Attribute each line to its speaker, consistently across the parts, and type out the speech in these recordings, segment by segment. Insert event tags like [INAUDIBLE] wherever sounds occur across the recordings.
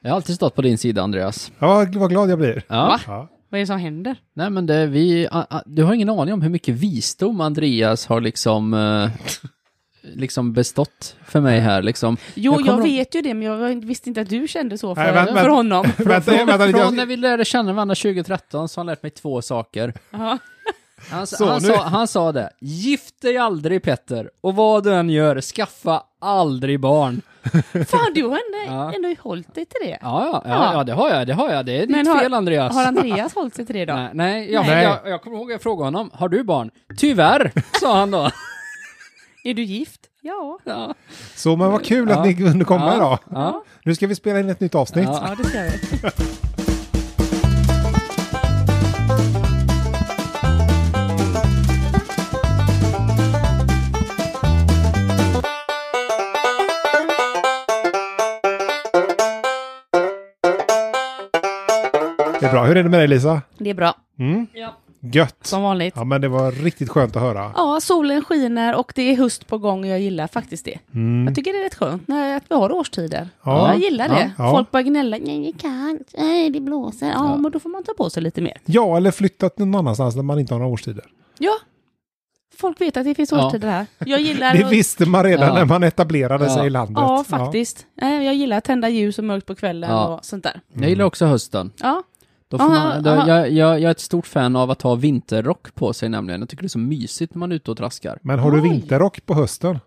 Speaker 1: Jag har alltid stått på din sida, Andreas.
Speaker 2: Ja, vad glad jag blir.
Speaker 1: Ja.
Speaker 3: Va?
Speaker 2: Ja.
Speaker 3: Vad är det som händer?
Speaker 1: Nej, men det, vi, a, a, du har ingen aning om hur mycket visdom Andreas har liksom, [LAUGHS] eh, liksom bestått för mig här. Liksom.
Speaker 3: Jo,
Speaker 1: Jag
Speaker 3: jag,
Speaker 1: kommer ihåg-
Speaker 3: vet ju det, men jag visste inte att du kände så för,
Speaker 2: Nej, vänt-
Speaker 3: för
Speaker 2: vänt-
Speaker 3: honom.
Speaker 2: [LAUGHS] vänta, vänta lite.
Speaker 1: Från när
Speaker 2: Jag,
Speaker 1: vi lärde känna varandra 2013 så har han lärt mig två saker.
Speaker 3: Ja.
Speaker 1: Han,
Speaker 2: Så,
Speaker 1: han,
Speaker 2: nu-
Speaker 1: sa, han sa det, gift dig aldrig Petter, och vad du än gör, skaffa aldrig barn.
Speaker 3: Fan, du har ändå,
Speaker 1: Ja.
Speaker 3: ändå hållit dig till det.
Speaker 1: Ja, ja, ja,
Speaker 3: Ja.
Speaker 1: ja, det har jag, det har jag. Det är ditt
Speaker 3: Men har-
Speaker 1: fel Andreas.
Speaker 3: Har Andreas hållit sig till det då?
Speaker 1: Nej, nej, jag,
Speaker 2: Nej.
Speaker 1: Jag, jag kommer ihåg jag frågade honom, har du barn? Tyvärr, sa han [LAUGHS] då.
Speaker 3: Är du gift? Ja.
Speaker 1: Ja,
Speaker 2: så, men vad kul
Speaker 1: Ja.
Speaker 2: att ni kunde komma
Speaker 1: Ja.
Speaker 2: idag.
Speaker 1: ja.
Speaker 2: Nu ska vi spela in ett nytt avsnitt.
Speaker 1: Ja.
Speaker 3: Ja, det ska vi.
Speaker 2: Det är bra. Hur är det med dig, Lisa?
Speaker 3: Det är bra.
Speaker 2: Mm?
Speaker 3: Ja.
Speaker 2: Gött.
Speaker 3: Som vanligt.
Speaker 2: Ja, men det var riktigt skönt att höra.
Speaker 3: Ja, solen skiner och det är höst på gång och jag gillar faktiskt det. Jag
Speaker 2: Mm.
Speaker 3: tycker det är rätt skönt när, att vi har årstider.
Speaker 2: Ja.
Speaker 3: Jag gillar det.
Speaker 2: Ja.
Speaker 3: Folk bara gnäller. Nej, det är kallt. Nej, det blåser. Ja,
Speaker 1: Ja.
Speaker 3: men då får man ta på sig lite mer.
Speaker 2: Ja, eller flyttat någon annanstans när man inte har några årstider.
Speaker 3: Ja. Folk vet att det finns
Speaker 1: Ja.
Speaker 3: årstider här. Jag gillar...
Speaker 2: Det visste man redan
Speaker 1: Ja.
Speaker 2: när man etablerade
Speaker 1: Ja.
Speaker 2: sig i landet.
Speaker 3: Ja, faktiskt. Nej, Jag gillar att tända ljus och mörkt på kvällen
Speaker 1: Ja.
Speaker 3: och sånt där.
Speaker 1: Jag gillar också hösten.
Speaker 3: Ja.
Speaker 1: Då får
Speaker 3: Aha,
Speaker 1: man, då,
Speaker 3: aha.
Speaker 1: jag, jag, jag är ett stort fan av att ha vinterrock på sig nämligen. Jag tycker det är så mysigt när man är ute och traskar.
Speaker 2: Men har du
Speaker 3: Oj.
Speaker 2: vinterrock på hösten?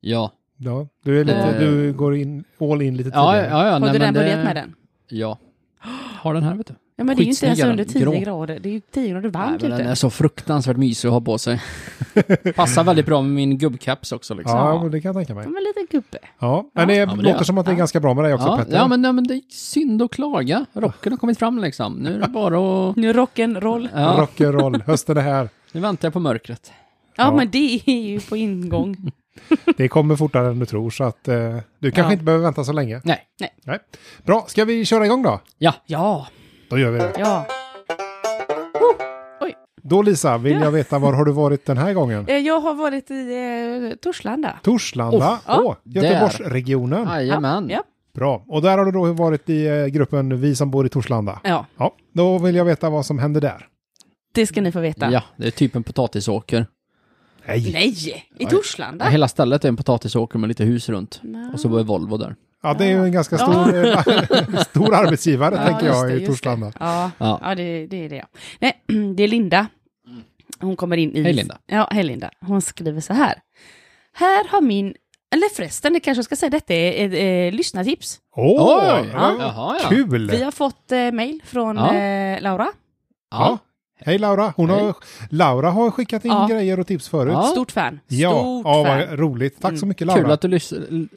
Speaker 1: Ja.
Speaker 2: Ja, du, är lite,
Speaker 1: Eh.
Speaker 2: du går in all in lite
Speaker 1: Ja,
Speaker 2: tidigare.
Speaker 1: ja, ja.
Speaker 3: Har
Speaker 1: nej,
Speaker 3: du
Speaker 1: men
Speaker 3: den
Speaker 1: det-
Speaker 3: börjat med den?
Speaker 1: Ja. Har den här vet du.
Speaker 3: Ja, men det är ju inte ens
Speaker 1: Skitsnygg är
Speaker 3: under
Speaker 1: den.
Speaker 3: 10
Speaker 1: Grå.
Speaker 3: grader. Det är ju 10 grader
Speaker 1: Nej,
Speaker 3: varmt
Speaker 1: men den är
Speaker 3: ute.
Speaker 1: så fruktansvärt mysig att ha på
Speaker 2: [LAUGHS]
Speaker 1: sig. Passar väldigt bra med min gubbcaps också liksom.
Speaker 2: Ja, men det kan jag tänka mig.
Speaker 3: Som en liten gubbe.
Speaker 2: Ja, men det
Speaker 1: men det-
Speaker 2: låter som att det är ganska bra med dig också,
Speaker 1: Ja,
Speaker 2: Petter.
Speaker 1: ja, men, ja, men det är synd att klaga. Rocken har kommit fram liksom. Nu är det
Speaker 3: [LAUGHS]
Speaker 1: bara att...
Speaker 3: Nu rock'n'roll. Ja.
Speaker 1: Ja,
Speaker 2: Rock'n'roll, hösten är här.
Speaker 1: nu väntar jag på mörkret.
Speaker 2: Ja.
Speaker 3: men det är ju på ingång.
Speaker 2: Det kommer fortare än du tror, så att eh, du kanske
Speaker 3: Ja.
Speaker 2: inte behöver vänta så länge.
Speaker 1: Nej.
Speaker 2: Nej. Bra, ska vi köra igång då?
Speaker 1: [LAUGHS] Ja.
Speaker 3: Ja,
Speaker 2: Då gör vi det.
Speaker 3: ja.
Speaker 2: Då Lisa, vill jag veta var har du varit den här gången?
Speaker 3: Eh, Jag har varit i eh, Torslanda.
Speaker 2: Torslanda,
Speaker 3: Oh,
Speaker 2: Åh, Göteborgsregionen.
Speaker 1: Jajamän.
Speaker 3: Ja,
Speaker 2: Bra, och där har du då varit i eh, gruppen Vi som bor i Torslanda.
Speaker 3: ja.
Speaker 2: Ja, då vill jag veta vad som hände där.
Speaker 3: det ska ni få veta.
Speaker 1: Ja, det är typ en potatisåker.
Speaker 2: Nej.
Speaker 3: Nej, i
Speaker 1: Ja,
Speaker 3: Torslanda?
Speaker 1: Hela stället är en potatisåker med lite hus runt.
Speaker 3: Nej.
Speaker 1: Och så var Volvo där.
Speaker 2: Ja, det är ju en ganska
Speaker 3: Ja.
Speaker 2: stor, eh, [LAUGHS] stor arbetsgivare,
Speaker 3: Ja,
Speaker 2: tänker
Speaker 3: just
Speaker 2: jag,
Speaker 3: det,
Speaker 2: i
Speaker 3: just det.
Speaker 2: Torslanda.
Speaker 3: Ja,
Speaker 1: Ja. Mm.
Speaker 3: ja det, det är det. ja. Nej, [CLEARS THROAT] det är Linda. Hon kommer in i...
Speaker 1: Hej, Linda.
Speaker 3: Ja, hej Linda. Hon skriver så här. Här har min... Eller förresten, det kanske jag ska säga, detta är ett eh, lyssnartips.
Speaker 2: Åh,
Speaker 1: Oj!
Speaker 2: ja,
Speaker 1: Jaha, ja.
Speaker 2: kul!
Speaker 3: Vi har fått eh, mejl från
Speaker 1: Ja.
Speaker 3: eh, Laura.
Speaker 2: Ja. Hej Laura! Hon
Speaker 1: Hej.
Speaker 2: Har, Laura har skickat in
Speaker 3: Ja.
Speaker 2: grejer och tips förut.
Speaker 1: Ja.
Speaker 3: Stort fan.
Speaker 2: Ja,
Speaker 3: Stort
Speaker 2: ja
Speaker 3: fan.
Speaker 2: vad roligt. Tack så mycket Laura.
Speaker 1: Mm, Kul att, du lys-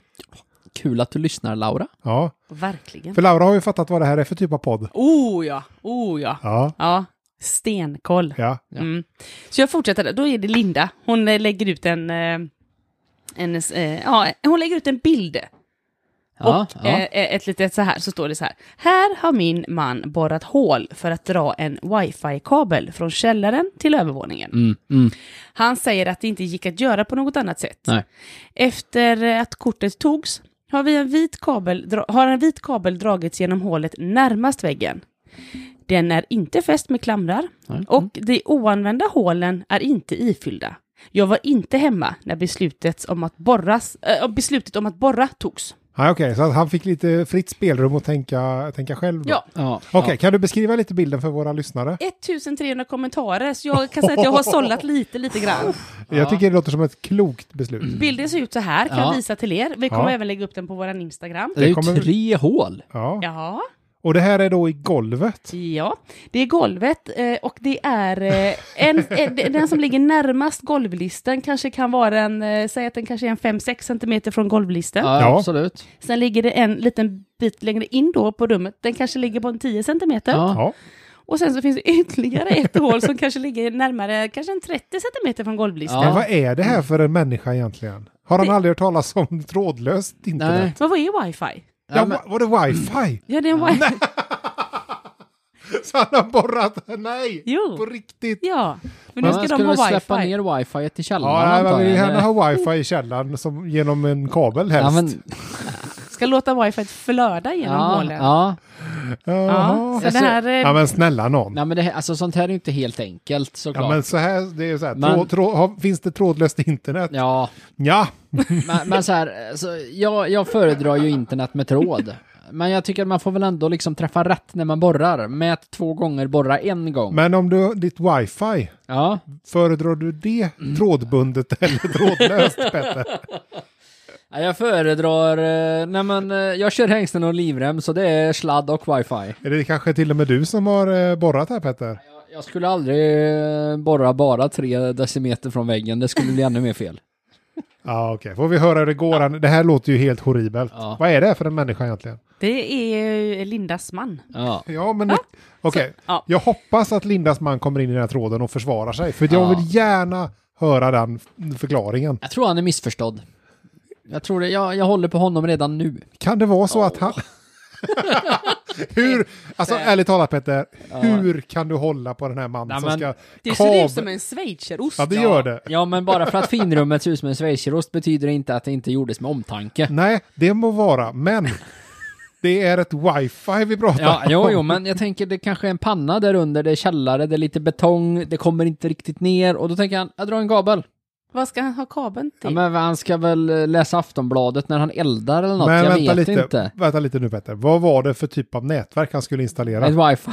Speaker 1: Kul att du lyssnar, Laura.
Speaker 2: Ja,
Speaker 3: Verkligen.
Speaker 2: för Laura har ju fattat vad det här är för typ av podd.
Speaker 3: Oh ja, oh ja.
Speaker 2: Ja,
Speaker 3: Ja, stenkoll.
Speaker 2: ja.
Speaker 3: Mm. Så jag fortsätter, där. då är det Linda. Hon eh, lägger ut en... eh, en eh, ja, hon lägger ut en bild.
Speaker 1: Ja,
Speaker 3: och
Speaker 1: ja.
Speaker 3: eh, ett litet så här, så står det så här. Här har min man borrat hål för att dra en wifi-kabel från källaren till övervåningen.
Speaker 1: Mm, mm.
Speaker 3: Han säger att det inte gick att göra på något annat sätt.
Speaker 1: Nej.
Speaker 3: Efter eh, att kortet togs har, vi en vit kabel, dra- har en vit kabel dragits genom hålet närmast väggen. Den är inte fäst med klamrar
Speaker 1: Nej. mm.
Speaker 3: och de oanvända hålen är inte ifyllda. Jag var inte hemma när beslutet om att, borras, eh, beslutet om att borra togs.
Speaker 2: ja Okej, så att han fick lite fritt spelrum att tänka, tänka själv. då.
Speaker 3: Ja.
Speaker 1: Ja,
Speaker 2: Okej, kan du beskriva lite bilden för våra lyssnare?
Speaker 3: 1300 kommentarer, så jag kan säga att jag har sållat lite, lite grann.
Speaker 1: Ja. Mm.
Speaker 2: Jag tycker det låter som ett klokt beslut.
Speaker 3: Bilden ser ut så här, kan
Speaker 1: Ja.
Speaker 3: jag visa till er. Vi kommer
Speaker 2: Ja.
Speaker 3: även lägga upp den på vår Instagram.
Speaker 1: Det är ju
Speaker 2: kommer-
Speaker 1: tre hål.
Speaker 2: Ja.
Speaker 3: Ja.
Speaker 2: Och det här är då i golvet.
Speaker 3: Ja, det är golvet eh, och det är eh, en, eh, det- den som ligger närmast golvlisten kanske kan vara en, eh, säg att den kanske är en 5-6 centimeter från golvlisten.
Speaker 1: Ja,
Speaker 2: Ja.
Speaker 1: absolut.
Speaker 3: Sen ligger det en liten bit längre in då på rummet, den kanske ligger på en 10 centimeter.
Speaker 1: Ja.
Speaker 2: Ja.
Speaker 3: Och sen så finns det ytterligare ett hål som kanske ligger närmare, kanske en 30 centimeter från golvlisten.
Speaker 2: Men
Speaker 1: Ja. Mm.
Speaker 2: vad är det här för en människa egentligen? Har han
Speaker 3: Det-
Speaker 2: aldrig hört talas om [LAUGHS] trådlöst internet?
Speaker 1: Nej.
Speaker 3: Men vad är wifi?
Speaker 2: Ja,
Speaker 1: Ja, men,
Speaker 2: wa- Var det wifi?
Speaker 3: Ja, det är en wifi.
Speaker 1: Mm.
Speaker 2: [LAUGHS] Så han har borrat? Nej!
Speaker 3: Jo.
Speaker 2: På riktigt?
Speaker 3: Ja, men nu
Speaker 1: men
Speaker 3: ska
Speaker 1: ska
Speaker 3: de
Speaker 1: väl
Speaker 3: ha
Speaker 1: släppa
Speaker 3: wifi.
Speaker 1: ner wifi till källaren
Speaker 2: Ja, nej, man
Speaker 1: antar
Speaker 2: vill
Speaker 1: jag.
Speaker 2: gärna ha wifi i källaren som, genom en kabel
Speaker 1: Ja,
Speaker 2: helst.
Speaker 1: men,
Speaker 3: ska låta wifi flöda genom
Speaker 1: ja,
Speaker 3: hålen.
Speaker 1: ja.
Speaker 3: Ja,
Speaker 2: Jaha.
Speaker 3: så det här... eh,
Speaker 2: Ja men snälla någon.
Speaker 1: Nej, men det, här- alltså, sånt här är ju inte helt enkelt såklart.
Speaker 2: Ja men så här, det är ju så här,
Speaker 1: Men-
Speaker 2: tråd, tråd, har, finns det trådlöst internet?
Speaker 1: Ja,
Speaker 2: Ja,
Speaker 1: men, men så här, alltså, jag, jag föredrar ju internet med tråd. Men jag tycker att man får väl ändå liksom träffa rätt när man borrar. Mät två gånger, borra en gång.
Speaker 2: men om du, ditt wifi,
Speaker 1: Ja.
Speaker 2: föredrar du det
Speaker 1: Mm.
Speaker 2: trådbundet [LAUGHS] eller trådlöst Petter?
Speaker 1: Ja, Jag föredrar, eh, nej men eh, jag kör hängslen och livrem så det är sladd och wifi.
Speaker 2: Är det kanske till och med du som har eh, borrat här Petter?
Speaker 1: Jag- Jag skulle aldrig eh, borra bara tre decimeter från väggen, det skulle bli ännu mer fel.
Speaker 2: Ja okej, får vi höra hur det går. Det här låter ju helt horribelt.
Speaker 1: Ja.
Speaker 2: Vad är det för en människa egentligen?
Speaker 3: Det är eh, Lindas man.
Speaker 1: Ja.
Speaker 2: Ja, men okej.
Speaker 3: Så, ja.
Speaker 2: Jag hoppas att Lindas man kommer in i den här tråden och försvarar sig. För jag
Speaker 1: Ja.
Speaker 2: vill gärna höra den f- förklaringen.
Speaker 1: Jag tror han är missförstådd. Jag tror det, jag, jag håller på honom redan nu.
Speaker 2: Kan det vara så att han... hur, alltså ärligt talat Petter, hur kan du hålla på den här mannen
Speaker 1: Nej,
Speaker 2: som
Speaker 1: men
Speaker 2: ska...
Speaker 3: Det ser
Speaker 2: kav-
Speaker 3: ut som en schweizerost.
Speaker 2: Ja, det gör det.
Speaker 1: Ja men bara för att finrummet ser ut som en schweizerost betyder det inte att det inte gjordes med omtanke.
Speaker 2: Nej, det må vara, men det är ett wifi vi pratar
Speaker 1: Ja,
Speaker 2: om.
Speaker 1: jo, jo, men jag tänker det kanske är en panna där under, det är källare, det är lite betong, det kommer inte riktigt ner och då tänker han, jag drar en kabel.
Speaker 3: Vad ska han ha kabeln till?
Speaker 1: Ja, men han ska väl eh, läsa Aftonbladet när han eldar eller något,
Speaker 2: Men
Speaker 1: jag
Speaker 2: vänta
Speaker 1: vet
Speaker 2: lite,
Speaker 1: inte.
Speaker 2: vänta lite nu Petter. Vad var det för typ av nätverk han skulle installera?
Speaker 1: Ett wifi.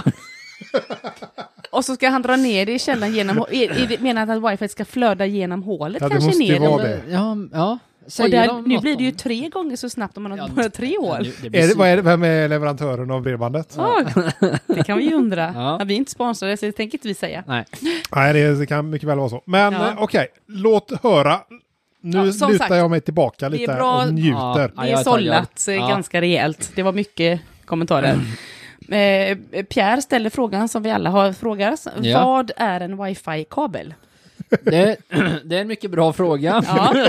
Speaker 3: Och så ska han dra ner det i källaren genom... i- i- Menar han att wifi ska flöda genom hålet
Speaker 2: Ja, det
Speaker 3: kanske
Speaker 2: måste ju
Speaker 3: ner?
Speaker 2: vara
Speaker 3: genom-
Speaker 1: [LAUGHS]
Speaker 2: det.
Speaker 1: Ja, ja.
Speaker 3: Och
Speaker 1: Säger
Speaker 3: där,
Speaker 1: de
Speaker 3: nu
Speaker 1: något
Speaker 3: blir
Speaker 1: om
Speaker 3: det ju tre gånger så snabbt om man har
Speaker 1: Ja,
Speaker 3: bara tre
Speaker 1: Ja,
Speaker 3: hål.
Speaker 1: nu- det blir
Speaker 2: Är det, vad
Speaker 1: super.
Speaker 2: är, det- vem är leverantören av bredbandet?
Speaker 3: Oj, det kan vi ju undra.
Speaker 1: Ja.
Speaker 3: Ja, vi är inte sponsrade så det tänker inte vi säga.
Speaker 1: Nej.
Speaker 2: Nej, det, det kan mycket väl vara så. Men
Speaker 3: Ja.
Speaker 2: eh, okej, låt höra. Nu
Speaker 3: Ja, som
Speaker 2: lutar
Speaker 3: sagt,
Speaker 2: jag mig tillbaka
Speaker 3: det är
Speaker 2: lite
Speaker 3: bra-
Speaker 2: och njuter.
Speaker 1: Ja,
Speaker 3: Det
Speaker 1: jag
Speaker 3: är
Speaker 1: är taggad.
Speaker 3: sållat eh,
Speaker 1: Ja. Mm.
Speaker 3: ganska rejält. Det var mycket kommentarer. Eh, Pierre ställer frågan som vi alla har frågat.
Speaker 1: Ja.
Speaker 3: Vad är en wifi-kabel?
Speaker 1: Det, det är [CLEARS THROAT] en mycket bra fråga.
Speaker 3: Ja.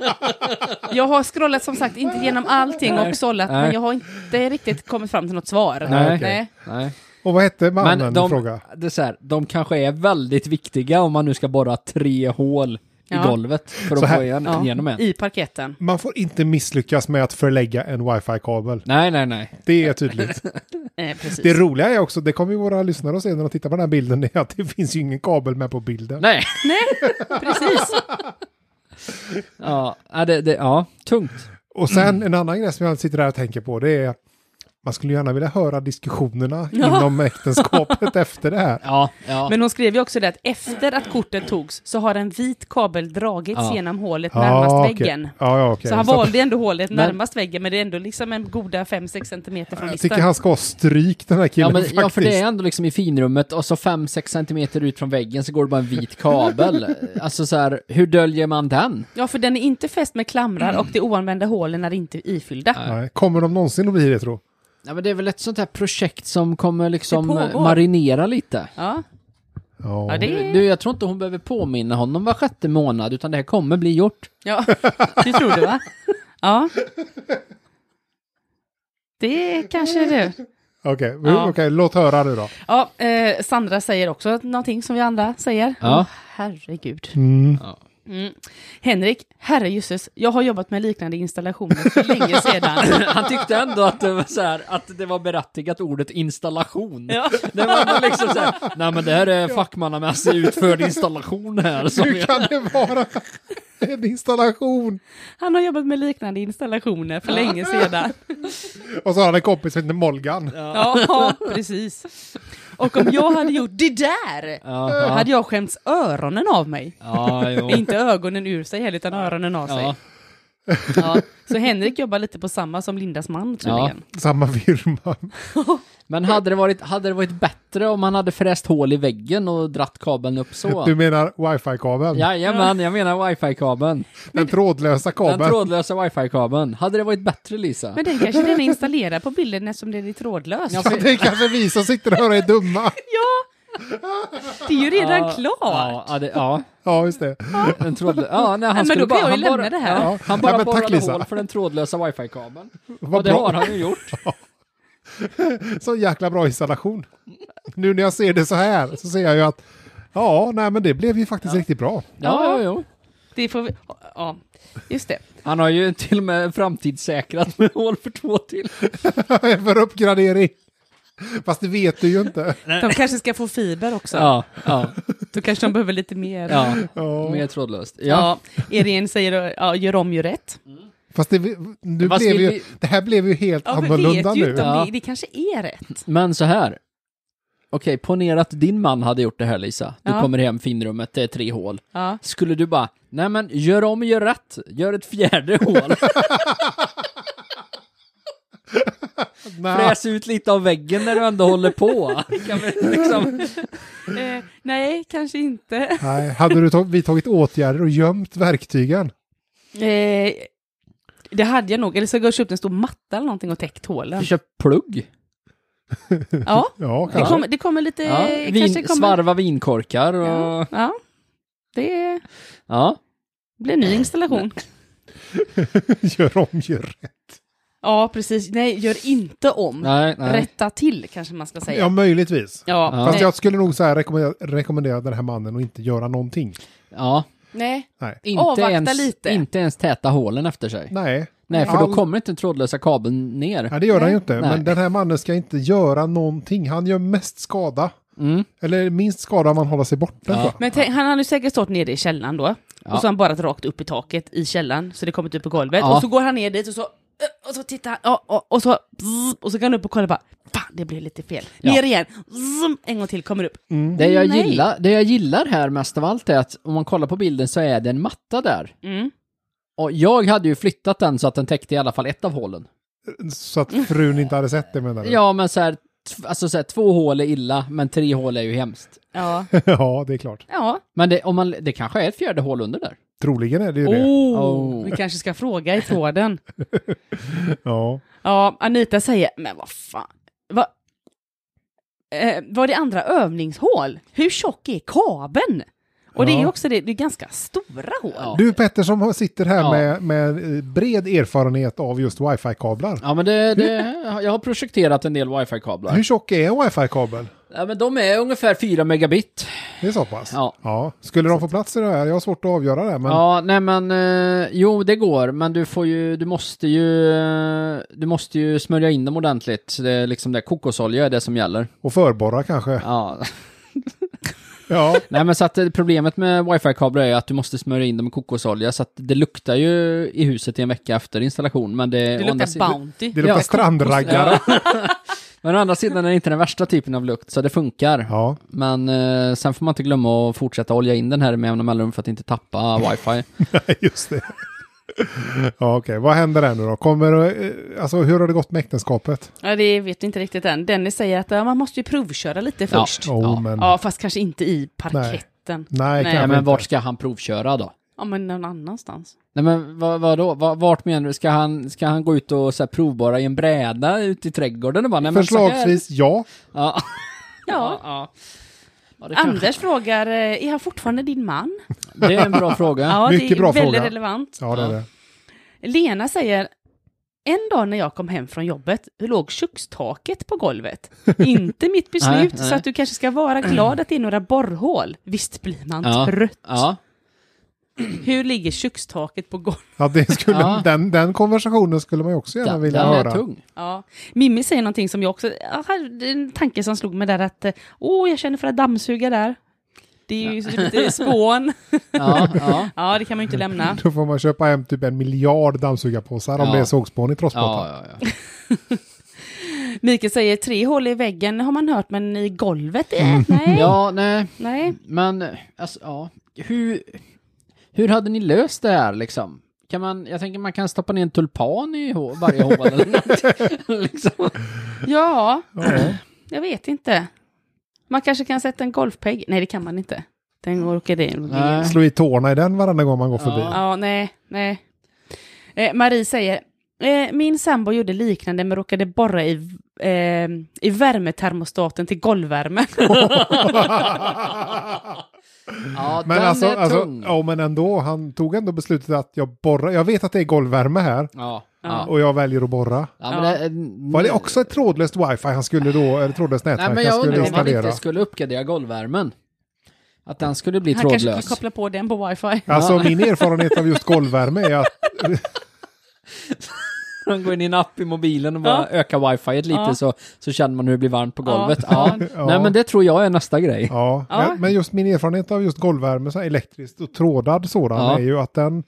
Speaker 3: [LAUGHS] Jag har scrollat som sagt inte genom allting och sållat,
Speaker 1: Nej.
Speaker 3: men jag har inte riktigt kommit fram till något svar.
Speaker 1: Nej.
Speaker 3: Nej.
Speaker 1: Nej.
Speaker 2: Och vad hette mannen
Speaker 1: Men de,
Speaker 2: de... fråga?
Speaker 1: det är så här, de kanske är väldigt viktiga om man nu ska borra tre hål
Speaker 3: Ja.
Speaker 1: i golvet för
Speaker 2: Så
Speaker 1: att
Speaker 2: här-
Speaker 1: få igen,
Speaker 3: Ja,
Speaker 1: igenom en.
Speaker 3: I parketten.
Speaker 2: Man får inte misslyckas med att förlägga en wifi-kabel.
Speaker 1: Nej, nej, nej.
Speaker 2: Det är tydligt.
Speaker 3: Eh, precis.
Speaker 2: Det roliga är också, det kommer ju våra lyssnare att se när de tittar på den här bilden, [LAUGHS] det är att det finns ju ingen kabel med på bilden.
Speaker 1: Nej.
Speaker 3: Precis.
Speaker 1: Ja, ja, det, det, ja tungt.
Speaker 2: Och
Speaker 3: Mm.
Speaker 2: sen en annan grej som jag sitter där och tänker på, det är man skulle gärna vilja höra diskussionerna
Speaker 3: Ja.
Speaker 2: inom
Speaker 3: [LAUGHS]
Speaker 2: äktenskapet efter det här.
Speaker 1: Ja, [LAUGHS] ja.
Speaker 3: Men hon skrev ju också det att efter att kortet togs så har en vit kabel dragits
Speaker 1: Ja. Ah,
Speaker 3: genom hålet närmast
Speaker 2: okej.
Speaker 3: väggen.
Speaker 2: Ja, ja, okej.
Speaker 3: Så han
Speaker 2: Så att-
Speaker 3: valde ändå hålet
Speaker 1: Men-
Speaker 3: närmast väggen, men det är ändå liksom en goda 5-6 centimeter från
Speaker 2: Jag
Speaker 3: listan.
Speaker 2: tycker han ska ha stryk den här killen
Speaker 1: ja, men,
Speaker 2: faktiskt.
Speaker 1: ja, för det är ändå liksom i finrummet och så 5-6 centimeter ut från väggen så går det bara en vit kabel. alltså så här, hur döljer man den?
Speaker 3: Ja, för den är inte fäst med klamrar och de oanvända hålen är inte ifyllda.
Speaker 2: Nej. Kommer de någonsin att bli det tror
Speaker 1: Ja, men det är väl ett sånt här projekt som kommer liksom
Speaker 3: Det pågår.
Speaker 1: marinera lite.
Speaker 3: Ja,
Speaker 2: Ja.
Speaker 3: ja det
Speaker 1: Du, jag tror inte hon behöver påminna honom var sjätte månad, utan det här kommer bli
Speaker 3: [LAUGHS]
Speaker 1: gjort.
Speaker 3: Ja, det tror du va? Ja. Det är kanske det.
Speaker 2: Okej,
Speaker 3: Ja.
Speaker 2: okej, låt höra nu då.
Speaker 3: Ja, eh, Sandra säger också någonting som vi andra säger.
Speaker 1: Ja.
Speaker 3: Åh, herregud.
Speaker 2: Mm.
Speaker 3: Mm. Henrik, herrejösses, jag har jobbat med liknande installationer för länge
Speaker 2: [LAUGHS]
Speaker 3: sedan.
Speaker 1: Han tyckte ändå att det var så här, att det var berättigat ordet installation.
Speaker 3: Ja.
Speaker 1: [LAUGHS] Det var ändå liksom så här,
Speaker 3: [LAUGHS]
Speaker 1: nej men det här är fackmannamässig utförd installation här.
Speaker 3: [LAUGHS]
Speaker 1: Som
Speaker 2: Hur
Speaker 1: jag,
Speaker 2: kan det vara en installation?
Speaker 3: Han har jobbat med liknande installationer för länge sedan.
Speaker 2: Och så har han en kompis som heter Molgan.
Speaker 1: [LAUGHS]
Speaker 3: Ja, precis. Och om jag hade gjort det där,
Speaker 1: Jaha.
Speaker 3: hade jag skämts öronen av mig.
Speaker 1: ja, jo.
Speaker 3: [LAUGHS] Inte ögonen ur sig heller, utan öronen av sig.
Speaker 1: Ja.
Speaker 3: Ja, så Henrik jobbar lite på samma som Lindas man tydligen.
Speaker 2: Samma firma.
Speaker 1: Men hade det, varit, hade det varit bättre om man hade fräst hål i väggen och dratt kabeln upp
Speaker 2: Du
Speaker 1: så?
Speaker 2: menar wifi-kabeln?
Speaker 1: Jajamän, jag menar wifi-kabeln.
Speaker 2: Den trådlösa kabeln.
Speaker 1: Den trådlösa wifi-kabeln. Hade det varit bättre Lisa?
Speaker 3: Men den kanske den är installerad på bilden eftersom den är trådlös.
Speaker 1: Ja,
Speaker 3: Ja,
Speaker 1: för-
Speaker 2: Ja, det är kanske vi som sitter här och är dumma.
Speaker 3: det är ju redan klart.
Speaker 1: Ja, ja, det, ja.
Speaker 2: Ja, just det.
Speaker 1: En trådlös... Ja, nej, han
Speaker 3: men
Speaker 1: skulle
Speaker 3: då kan
Speaker 1: bara,
Speaker 3: jag ju
Speaker 1: han bara,
Speaker 3: lämna det här.
Speaker 1: Ja, han bara
Speaker 2: Ja, men tack,
Speaker 1: borrade
Speaker 2: Lisa.
Speaker 1: hål för den trådlösa wifi-kabeln.
Speaker 2: Vad
Speaker 1: och det
Speaker 2: bra.
Speaker 1: har han ju
Speaker 2: [LAUGHS]
Speaker 1: gjort.
Speaker 2: Så jäkla bra installation. Nu när jag ser det så här så ser jag ju att ja, nej men det blev ju faktiskt riktigt bra. [LAUGHS]
Speaker 1: Ja, ja, jo.
Speaker 3: Det får vi, ja, just det.
Speaker 1: Han har ju till och med framtidssäkrat med hål för två till.
Speaker 2: för uppgradering. Fast det vet du ju inte.
Speaker 3: De kanske ska få fiber också.
Speaker 1: Ja, ja,
Speaker 3: Då kanske de behöver lite mer.
Speaker 1: ja.
Speaker 2: Ja.
Speaker 1: Mer trådlöst. Ja.
Speaker 3: Ja, Irene säger ja, gör om, gör rätt.
Speaker 2: Fast det, nu
Speaker 1: Fast
Speaker 2: blev
Speaker 1: vi-
Speaker 2: ju, det här blev ju helt
Speaker 3: Ja, för vi
Speaker 2: annorlunda
Speaker 3: vet ju
Speaker 2: nu.
Speaker 3: inte om
Speaker 1: Ja.
Speaker 3: det, det kanske är rätt.
Speaker 1: Men så här. Okej, ponera att din man hade gjort det här Lisa. Du
Speaker 3: Ja.
Speaker 1: kommer hem, finrummet, det är tre hål.
Speaker 3: Ja.
Speaker 1: Skulle du bara, nej men gör om, gör rätt, gör ett
Speaker 3: [LAUGHS]
Speaker 1: fjärde hål,
Speaker 2: Nej,
Speaker 1: fräs ut lite av väggen när du ändå håller
Speaker 3: [LAUGHS]
Speaker 1: på. Kan vi liksom...
Speaker 3: Eh, nej, kanske inte.
Speaker 2: Nej, hade du tag, vi tagit åtgärder och gömt verktygen?
Speaker 3: Eh, det hade jag nog. Eller så går jag och köpt en stor matta eller någonting och täckt hålen.
Speaker 1: Köp plugg.
Speaker 3: Eh, Ja,
Speaker 2: Ja,
Speaker 3: det
Speaker 2: kanske.
Speaker 3: kommer, det kommer lite...
Speaker 1: Ja,
Speaker 3: eh,
Speaker 1: vin,
Speaker 3: kanske kommer,
Speaker 1: Svarva vinkorkar och...
Speaker 3: Ja, ja. Det
Speaker 1: Ja.
Speaker 3: blir en ny installation.
Speaker 2: [LAUGHS] Gör om, gör rätt.
Speaker 3: Ja, precis. Nej, gör inte om.
Speaker 1: Nej, nej.
Speaker 3: Rätta till, kanske man ska säga.
Speaker 2: Ja, möjligtvis.
Speaker 3: Ja,
Speaker 1: Ja.
Speaker 2: Fast
Speaker 3: nej,
Speaker 2: jag skulle nog så här rekommendera, rekommendera den här mannen att inte göra någonting.
Speaker 1: Ja.
Speaker 3: nej.
Speaker 2: Nej.
Speaker 1: Inte
Speaker 3: Avvakta
Speaker 1: ens,
Speaker 3: lite.
Speaker 1: Inte ens täta hålen efter sig. Nej,
Speaker 2: Nej,
Speaker 1: för då
Speaker 2: All-
Speaker 1: kommer inte den trådlösa kabeln ner.
Speaker 2: nej det gör han
Speaker 3: Nej.
Speaker 2: ju inte.
Speaker 1: Nej.
Speaker 2: Men den här mannen ska inte göra någonting. Han gör mest skada.
Speaker 1: Mm.
Speaker 2: Eller minst skada om man håller sig borta.
Speaker 1: Ja.
Speaker 2: va?
Speaker 3: Men tänk, han hade ju säkert stått nere i källaren då.
Speaker 1: Ja.
Speaker 3: Och så har han bara rakt upp i taket i källaren, så det kommit upp på golvet.
Speaker 1: Ja.
Speaker 3: Och så går han ner dit och så... eh, Och så tittar han, ja, och, och så... zzz, Och så går han upp och kollar bara, fan det blev lite fel.
Speaker 1: Ja. Mm.
Speaker 3: Ner igen, zzz, en gång till, kommer upp.
Speaker 1: Det, jag
Speaker 3: Mm, Nej.
Speaker 1: gillar, det jag gillar här mest av allt är att om man kollar på bilden så är det en matta där.
Speaker 3: Mm.
Speaker 1: Och jag hade ju flyttat den så att den täckte i alla fall ett av hålen.
Speaker 2: Så att frun inte hade sett det menar du?
Speaker 3: Mm.
Speaker 1: Ja, men så här, tv- alltså så här, två hål är illa, men tre hål är ju hemskt. [LAUGHS]
Speaker 3: Ja.
Speaker 2: [LAUGHS] ja, det är klart.
Speaker 3: Ja.
Speaker 1: Men det, om man, det kanske är ett fjärde hål under där.
Speaker 2: Troligen är det ju det.
Speaker 3: Oh,
Speaker 1: Oh.
Speaker 3: Vi kanske ska fråga i tråden.
Speaker 2: Ja.
Speaker 3: Ja, Anita säger, men vad fan. Va? Eh, var det andra övningshål? Hur tjock är kabeln? Och det är ju
Speaker 2: Ja.
Speaker 3: också det, det är ganska stora hål.
Speaker 1: Ja.
Speaker 2: Du Petter som har- sitter här
Speaker 1: Ja.
Speaker 2: med, med eh, bred erfarenhet av just wifi-kablar.
Speaker 1: Ja, men det, det,
Speaker 3: Mm.
Speaker 1: jag har projekterat en del wifi-kablar.
Speaker 2: Hur tjock är en wifi-kabel?
Speaker 1: Ja, men de är ungefär 4 megabit.
Speaker 2: Det är så pass?
Speaker 1: Ja.
Speaker 2: Skulle de få plats i det här? Jag har svårt att avgöra det. Men
Speaker 1: Ja, nej men eh, jo det går, men du får ju, du måste ju, eh, du måste ju smörja in dem ordentligt. Det är liksom det, kokosolja är det som gäller.
Speaker 2: Och förborra kanske? Ja.
Speaker 1: Ja.
Speaker 2: ja.
Speaker 1: nej men så att eh, problemet med wifi-kablar är ju att du måste smörja in dem med kokosolja, så att det luktar ju i huset i en vecka efter installation, men det...
Speaker 3: Det
Speaker 1: å andra
Speaker 3: luktar
Speaker 1: sidan-
Speaker 3: Bounty.
Speaker 2: Det luktar
Speaker 1: Ja,
Speaker 2: strandraggare. Ja.
Speaker 1: [LAUGHS] Men å andra sidan är det inte den värsta typen av lukt, så det funkar.
Speaker 2: [LAUGHS]
Speaker 1: Men eh, sen får man inte glömma att fortsätta olja in den här med jämna mellanrum för att inte tappa
Speaker 2: [LAUGHS]
Speaker 1: wifi.
Speaker 2: just det. ja, okej. Vad händer där nu då? Kommer, eh, alltså, hur har det gått med äktenskapet?
Speaker 3: Ja, det vet vi inte riktigt än. Dennis säger att ja, man måste ju provköra lite
Speaker 1: Ja.
Speaker 3: först.
Speaker 2: Oh,
Speaker 1: Ja.
Speaker 2: men,
Speaker 3: Ja, fast kanske inte i parketten.
Speaker 2: Nej,
Speaker 3: Nej,
Speaker 1: Nej
Speaker 2: kanske
Speaker 1: men
Speaker 2: inte.
Speaker 1: vart ska han provköra då?
Speaker 3: Ja, men någon annanstans.
Speaker 1: Nej men vad, vadå, vad, vart menar du, ska han, ska han gå ut och så här, provborra i en bräda ute i trädgården och bara, nej, men så här-
Speaker 2: Förslagsvis ja.
Speaker 1: Ja.
Speaker 3: Ja.
Speaker 1: ja. ja det, kanske,
Speaker 3: Anders frågar, eh, är han fortfarande din man?
Speaker 1: det är en bra fråga.
Speaker 3: Ja, det
Speaker 2: mycket
Speaker 3: är
Speaker 2: bra
Speaker 3: väldigt
Speaker 2: fråga.
Speaker 3: relevant.
Speaker 2: Ja, det är det.
Speaker 3: Lena säger, en dag när jag kom hem från jobbet låg kökstaket
Speaker 2: [LAUGHS]
Speaker 3: på golvet. Inte mitt beslut,
Speaker 1: Nej, nej.
Speaker 3: så att du kanske ska vara glad att det är några borrhål. Visst blir man
Speaker 1: Ja.
Speaker 3: trött.
Speaker 1: Ja.
Speaker 3: Hur ligger kökstaket på golvet?
Speaker 2: Ja, det skulle,
Speaker 1: Ja.
Speaker 2: Den, den konversationen skulle man ju också gärna
Speaker 1: Den,
Speaker 2: vilja
Speaker 1: den
Speaker 2: höra.
Speaker 1: är tung.
Speaker 3: Ja. Mimmi säger någonting som jag också, jag hade en tanke som slog mig där att, eh, åh, jag känner för att dammsuga där. Det är
Speaker 1: [LAUGHS]
Speaker 3: ju lite spån.
Speaker 1: Ja, [LAUGHS] ja.
Speaker 3: Ja, det kan man ju inte lämna.
Speaker 2: Då får man köpa hem typ en miljard dammsugarpåsar om
Speaker 1: Ja.
Speaker 2: det är sågspån i
Speaker 1: Ja,
Speaker 2: trossbotten.
Speaker 1: ja, ja.
Speaker 3: Mikael säger tre hål i väggen har man hört, men i golvet? Eh, nej.
Speaker 1: Mm. ja, nej,
Speaker 3: nej.
Speaker 1: men alltså, ja. Hur, hur hade ni löst det här liksom? Kan man, jag tänker man kan stoppa ner en tulpan i hå- varje hål eller [LAUGHS] någonting. liksom.
Speaker 3: Ja,
Speaker 2: Ja.
Speaker 3: jag vet inte. Man kanske kan sätta en golfpegg. Nej, det kan man inte. Den åker in.
Speaker 1: Nej.
Speaker 2: Slå i tårna i den varenda gång man går förbi.
Speaker 3: Ja, nej, nej. Eh, Marie säger, eh, min sambo gjorde liknande men råkade borra i, eh, i värmetermostaten till golvvärmen.
Speaker 1: Ja,
Speaker 2: [LAUGHS] Men
Speaker 1: den
Speaker 2: alltså,
Speaker 1: är
Speaker 2: alltså
Speaker 1: tung.
Speaker 2: ja, men ändå, han tog ändå beslutet att jag borrar. Jag vet att det är golvvärme här
Speaker 1: Ja, ja.
Speaker 2: och jag väljer att borra.
Speaker 1: ja, men
Speaker 3: Ja.
Speaker 1: det,
Speaker 2: Var det också ett trådlöst wifi han skulle då, eller trådlöst nätverk
Speaker 1: Nej men
Speaker 2: han
Speaker 1: jag
Speaker 2: skulle
Speaker 1: undrar om man
Speaker 2: installera?
Speaker 1: inte skulle uppgradera golvvärmen. Att den skulle bli
Speaker 3: Han kanske kan
Speaker 1: trådlös.
Speaker 3: koppla på den på wifi.
Speaker 2: Alltså
Speaker 1: Ja.
Speaker 2: min erfarenhet av just golvvärme är
Speaker 1: [LAUGHS]
Speaker 2: att
Speaker 1: Man går in i en app i mobilen och bara
Speaker 3: Ja.
Speaker 1: ökar wifi lite
Speaker 3: Ja.
Speaker 1: så, så känner man hur det blir varmt på
Speaker 3: Ja.
Speaker 1: golvet. Ja.
Speaker 2: Ja.
Speaker 1: Nej men det tror jag är nästa grej.
Speaker 2: Ja,
Speaker 3: Ja.
Speaker 2: Men, men just min erfarenhet av just golvvärme, så här elektriskt och trådad sådan,
Speaker 1: Ja.
Speaker 2: är ju att den...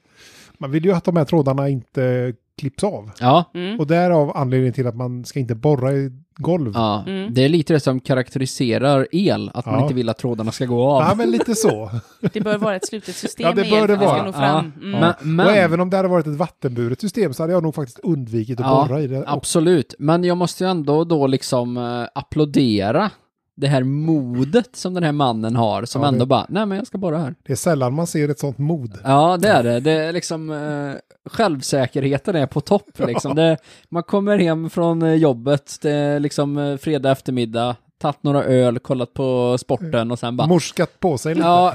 Speaker 2: Man vill ju att de här trådarna inte klipps av.
Speaker 1: Ja.
Speaker 3: Mm.
Speaker 2: Och därav anledningen till att man ska inte borra i golv.
Speaker 1: Ja,
Speaker 3: Mm.
Speaker 1: det är lite det som karaktäriserar el, att man
Speaker 2: Ja.
Speaker 1: inte vill att trådarna ska gå av.
Speaker 2: Ja, men lite så.
Speaker 1: Mm.
Speaker 3: Det bör vara ett
Speaker 2: [LAUGHS]
Speaker 3: slutet system
Speaker 2: Ja, det
Speaker 3: med
Speaker 2: bör
Speaker 3: el för
Speaker 2: det
Speaker 3: att vi ska
Speaker 2: vara.
Speaker 3: nå fram.
Speaker 1: Ja.
Speaker 3: Mm.
Speaker 1: Men, men
Speaker 2: Och även om det hade varit ett vattenburet system så hade jag nog faktiskt undvikit att
Speaker 1: Ja,
Speaker 2: borra i det. Och,
Speaker 1: absolut, men jag måste ju ändå då liksom eh, applådera det här modet som den här mannen har, som
Speaker 2: Ja, det-
Speaker 1: ändå bara, nej men jag ska bara här.
Speaker 2: det är sällan man ser ett sånt mod.
Speaker 1: Ja, det är det. Det är liksom, eh, självsäkerheten är på topp liksom. Det, man kommer hem från eh, jobbet, det är liksom eh, fredag eftermiddag, tagit några öl, kollat på sporten och sen bara,
Speaker 2: Morskat på sig lite.
Speaker 1: Ja,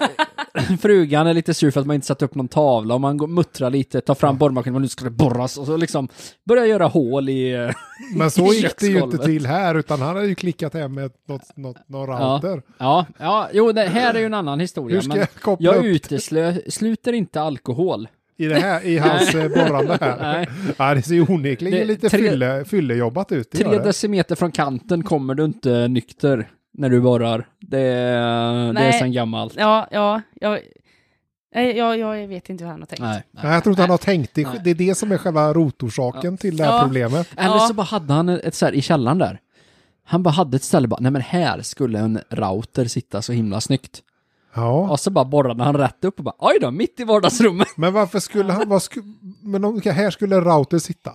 Speaker 1: frugan är lite sur för att man inte satt upp någon tavla och man går, muttrar lite, tar fram borrmaskinen och nu ska det borras och så liksom börjar göra hål i... eh,
Speaker 2: Men så gick det ju inte
Speaker 1: köksgolvet.
Speaker 2: till här, utan han hade ju klickat hem med något, något, någon router.
Speaker 1: Ja, ja, jo det här är ju en annan historia.
Speaker 2: Hur ska
Speaker 1: men
Speaker 2: jag koppla
Speaker 1: jag
Speaker 2: upp
Speaker 1: utesluter inte alkohol.
Speaker 2: i, det här, i hans eh, borrande här?
Speaker 1: [LAUGHS] Nej.
Speaker 2: Ja, det ser ju onekligen
Speaker 1: Det-
Speaker 2: lite
Speaker 1: tre-
Speaker 2: fylle, fyllejobbat ut. det
Speaker 1: Tre
Speaker 2: gör det.
Speaker 1: decimeter från kanten kommer du inte nykter när du borrar. Det, är- det är
Speaker 3: Nej.
Speaker 1: sen gammalt.
Speaker 3: Ja, ja, jag, nej, jag, jag vet inte hur han har tänkt.
Speaker 1: Nej. nej.
Speaker 2: Nej, jag tror inte han har tänkt det.
Speaker 1: Nej.
Speaker 2: Det är det som är själva rotorsaken till det här
Speaker 3: Ja.
Speaker 2: problemet.
Speaker 1: Eller
Speaker 3: Ja.
Speaker 1: så bara hade han ett så här i källaren där. Han bara hade ett ställe bara, nej men här skulle en router sitta så himla snyggt.
Speaker 2: Ja.
Speaker 1: Och så bara borrade han rätt upp och bara oj då, mitt i vardagsrummet.
Speaker 2: Men varför skulle han... Vad sku, men om, här skulle en router sitta.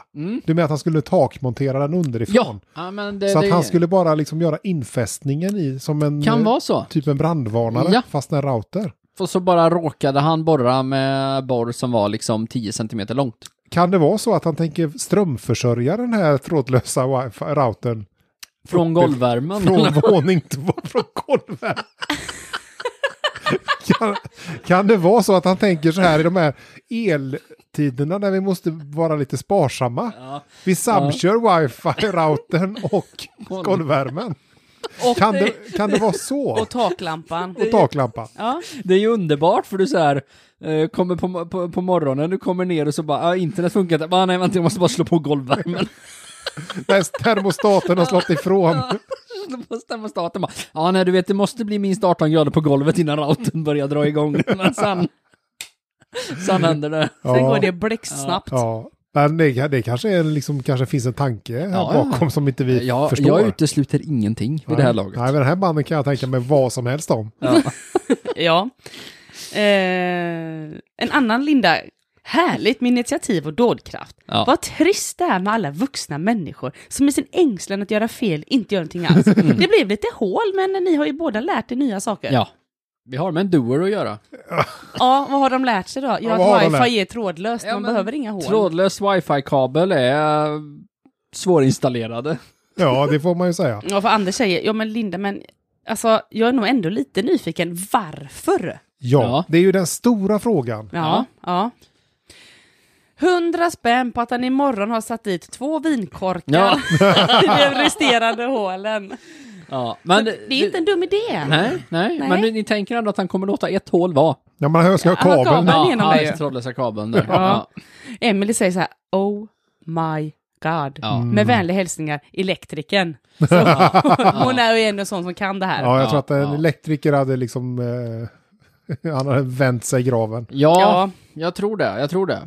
Speaker 2: Du menar att han skulle takmontera den underifrån?
Speaker 1: Mm. ja men det,
Speaker 2: så att
Speaker 1: det
Speaker 2: han skulle bara liksom göra infästningen i som en...
Speaker 1: kan
Speaker 2: eh,
Speaker 1: vara så.
Speaker 2: Typ en brandvarnare,
Speaker 1: Ja.
Speaker 2: fast en router.
Speaker 1: Och så bara råkade han borra med borr som var liksom 10 centimeter långt.
Speaker 2: Kan det vara så att han tänker strömförsörja den här trådlösa wifi- routern
Speaker 1: Från golvvärmen.
Speaker 2: från våning två, från golvet? Kan, kan det vara så att han tänker så här i de här eltiderna när vi måste vara lite sparsamma?
Speaker 1: Ja.
Speaker 2: Vi samkör wifi-routern och
Speaker 1: Golv.
Speaker 2: golvvärmen.
Speaker 3: Och,
Speaker 2: Kan det, kan det vara så?
Speaker 3: och taklampan.
Speaker 2: [LAUGHS] Och taklampan.
Speaker 3: Ja,
Speaker 1: Det är ju underbart för du så här eh, kommer på, på, på morgonen, du kommer ner och så bara, ah, internet funkar inte. Bara, nej vänta, jag måste bara slå på golvvärmen. [LAUGHS]
Speaker 2: Där termostaten har slått ifrån.
Speaker 1: slå på termostaten bara, ja nej du vet det måste bli minst 18 grader på golvet innan routern börjar dra
Speaker 2: [LAUGHS]
Speaker 1: igång. Men sen, sen händer det.
Speaker 3: sen
Speaker 2: Ja.
Speaker 3: går det blixtsnabbt.
Speaker 2: Ja, men det, det kanske, är liksom, kanske finns en tanke här
Speaker 1: Ja, ja.
Speaker 2: bakom som inte vi
Speaker 1: Jag,
Speaker 2: förstår.
Speaker 1: jag utesluter ingenting vid det här laget.
Speaker 2: Nej, men den här banden kan jag tänka mig vad som helst om.
Speaker 1: Ja.
Speaker 3: Ja. Eh, en annan Linda. Härligt med initiativ och dådkraft.
Speaker 1: Ja.
Speaker 3: Vad trist det är med alla vuxna människor som i sin ängslan att göra fel inte gör
Speaker 2: [LAUGHS]
Speaker 3: någonting alls.
Speaker 2: Mm.
Speaker 3: Det blev lite hål, men ni har ju båda lärt er nya saker.
Speaker 1: Ja. Vi har med en doer att göra.
Speaker 3: Ja, vad har de lärt sig då? Jo,
Speaker 2: Ja, vad har de
Speaker 3: att
Speaker 2: lärt
Speaker 3: wifi är trådlöst,
Speaker 1: Ja,
Speaker 3: man
Speaker 1: men
Speaker 3: behöver inga hål.
Speaker 1: Trådlös wifi-kabel är eh, svårinstallerade.
Speaker 2: Ja, det får man ju säga.
Speaker 3: Ja, för Anders säger, ja men Linda, men alltså, jag är nog ändå lite nyfiken, varför?
Speaker 2: Ja,
Speaker 1: Ja.
Speaker 2: det är ju den stora frågan.
Speaker 1: Ja.
Speaker 3: Ja, ja. Hundra spänn på att han imorgon har satt dit två vinkorkar [LAUGHS] i de resterande hålen.
Speaker 1: Ja, men...
Speaker 3: det, är inte en dum idé.
Speaker 1: Nej, nej,
Speaker 3: Nej.
Speaker 1: men ni, ni tänker ändå att han kommer låta ett hål vara.
Speaker 2: Ja, man hör ska ha
Speaker 3: Ja, han har
Speaker 2: kabeln.
Speaker 3: kabel.
Speaker 2: Ja,
Speaker 3: Ja, genom det ju.
Speaker 1: trådlösa kabeln där.
Speaker 3: Ja. Emily säger så här, oh my god.
Speaker 1: Ja.
Speaker 3: Med
Speaker 2: Mm.
Speaker 3: vänliga hälsningar, elektrikern.
Speaker 2: [LAUGHS]
Speaker 3: Så, Hon är ju ändå sån som kan det här.
Speaker 2: jag
Speaker 1: Ja,
Speaker 2: tror att en
Speaker 1: ja.
Speaker 2: elektriker hade liksom... Eh, [LAUGHS] han hade vänt sig i graven.
Speaker 1: Ja,
Speaker 3: Ja.
Speaker 1: jag tror det, jag tror det.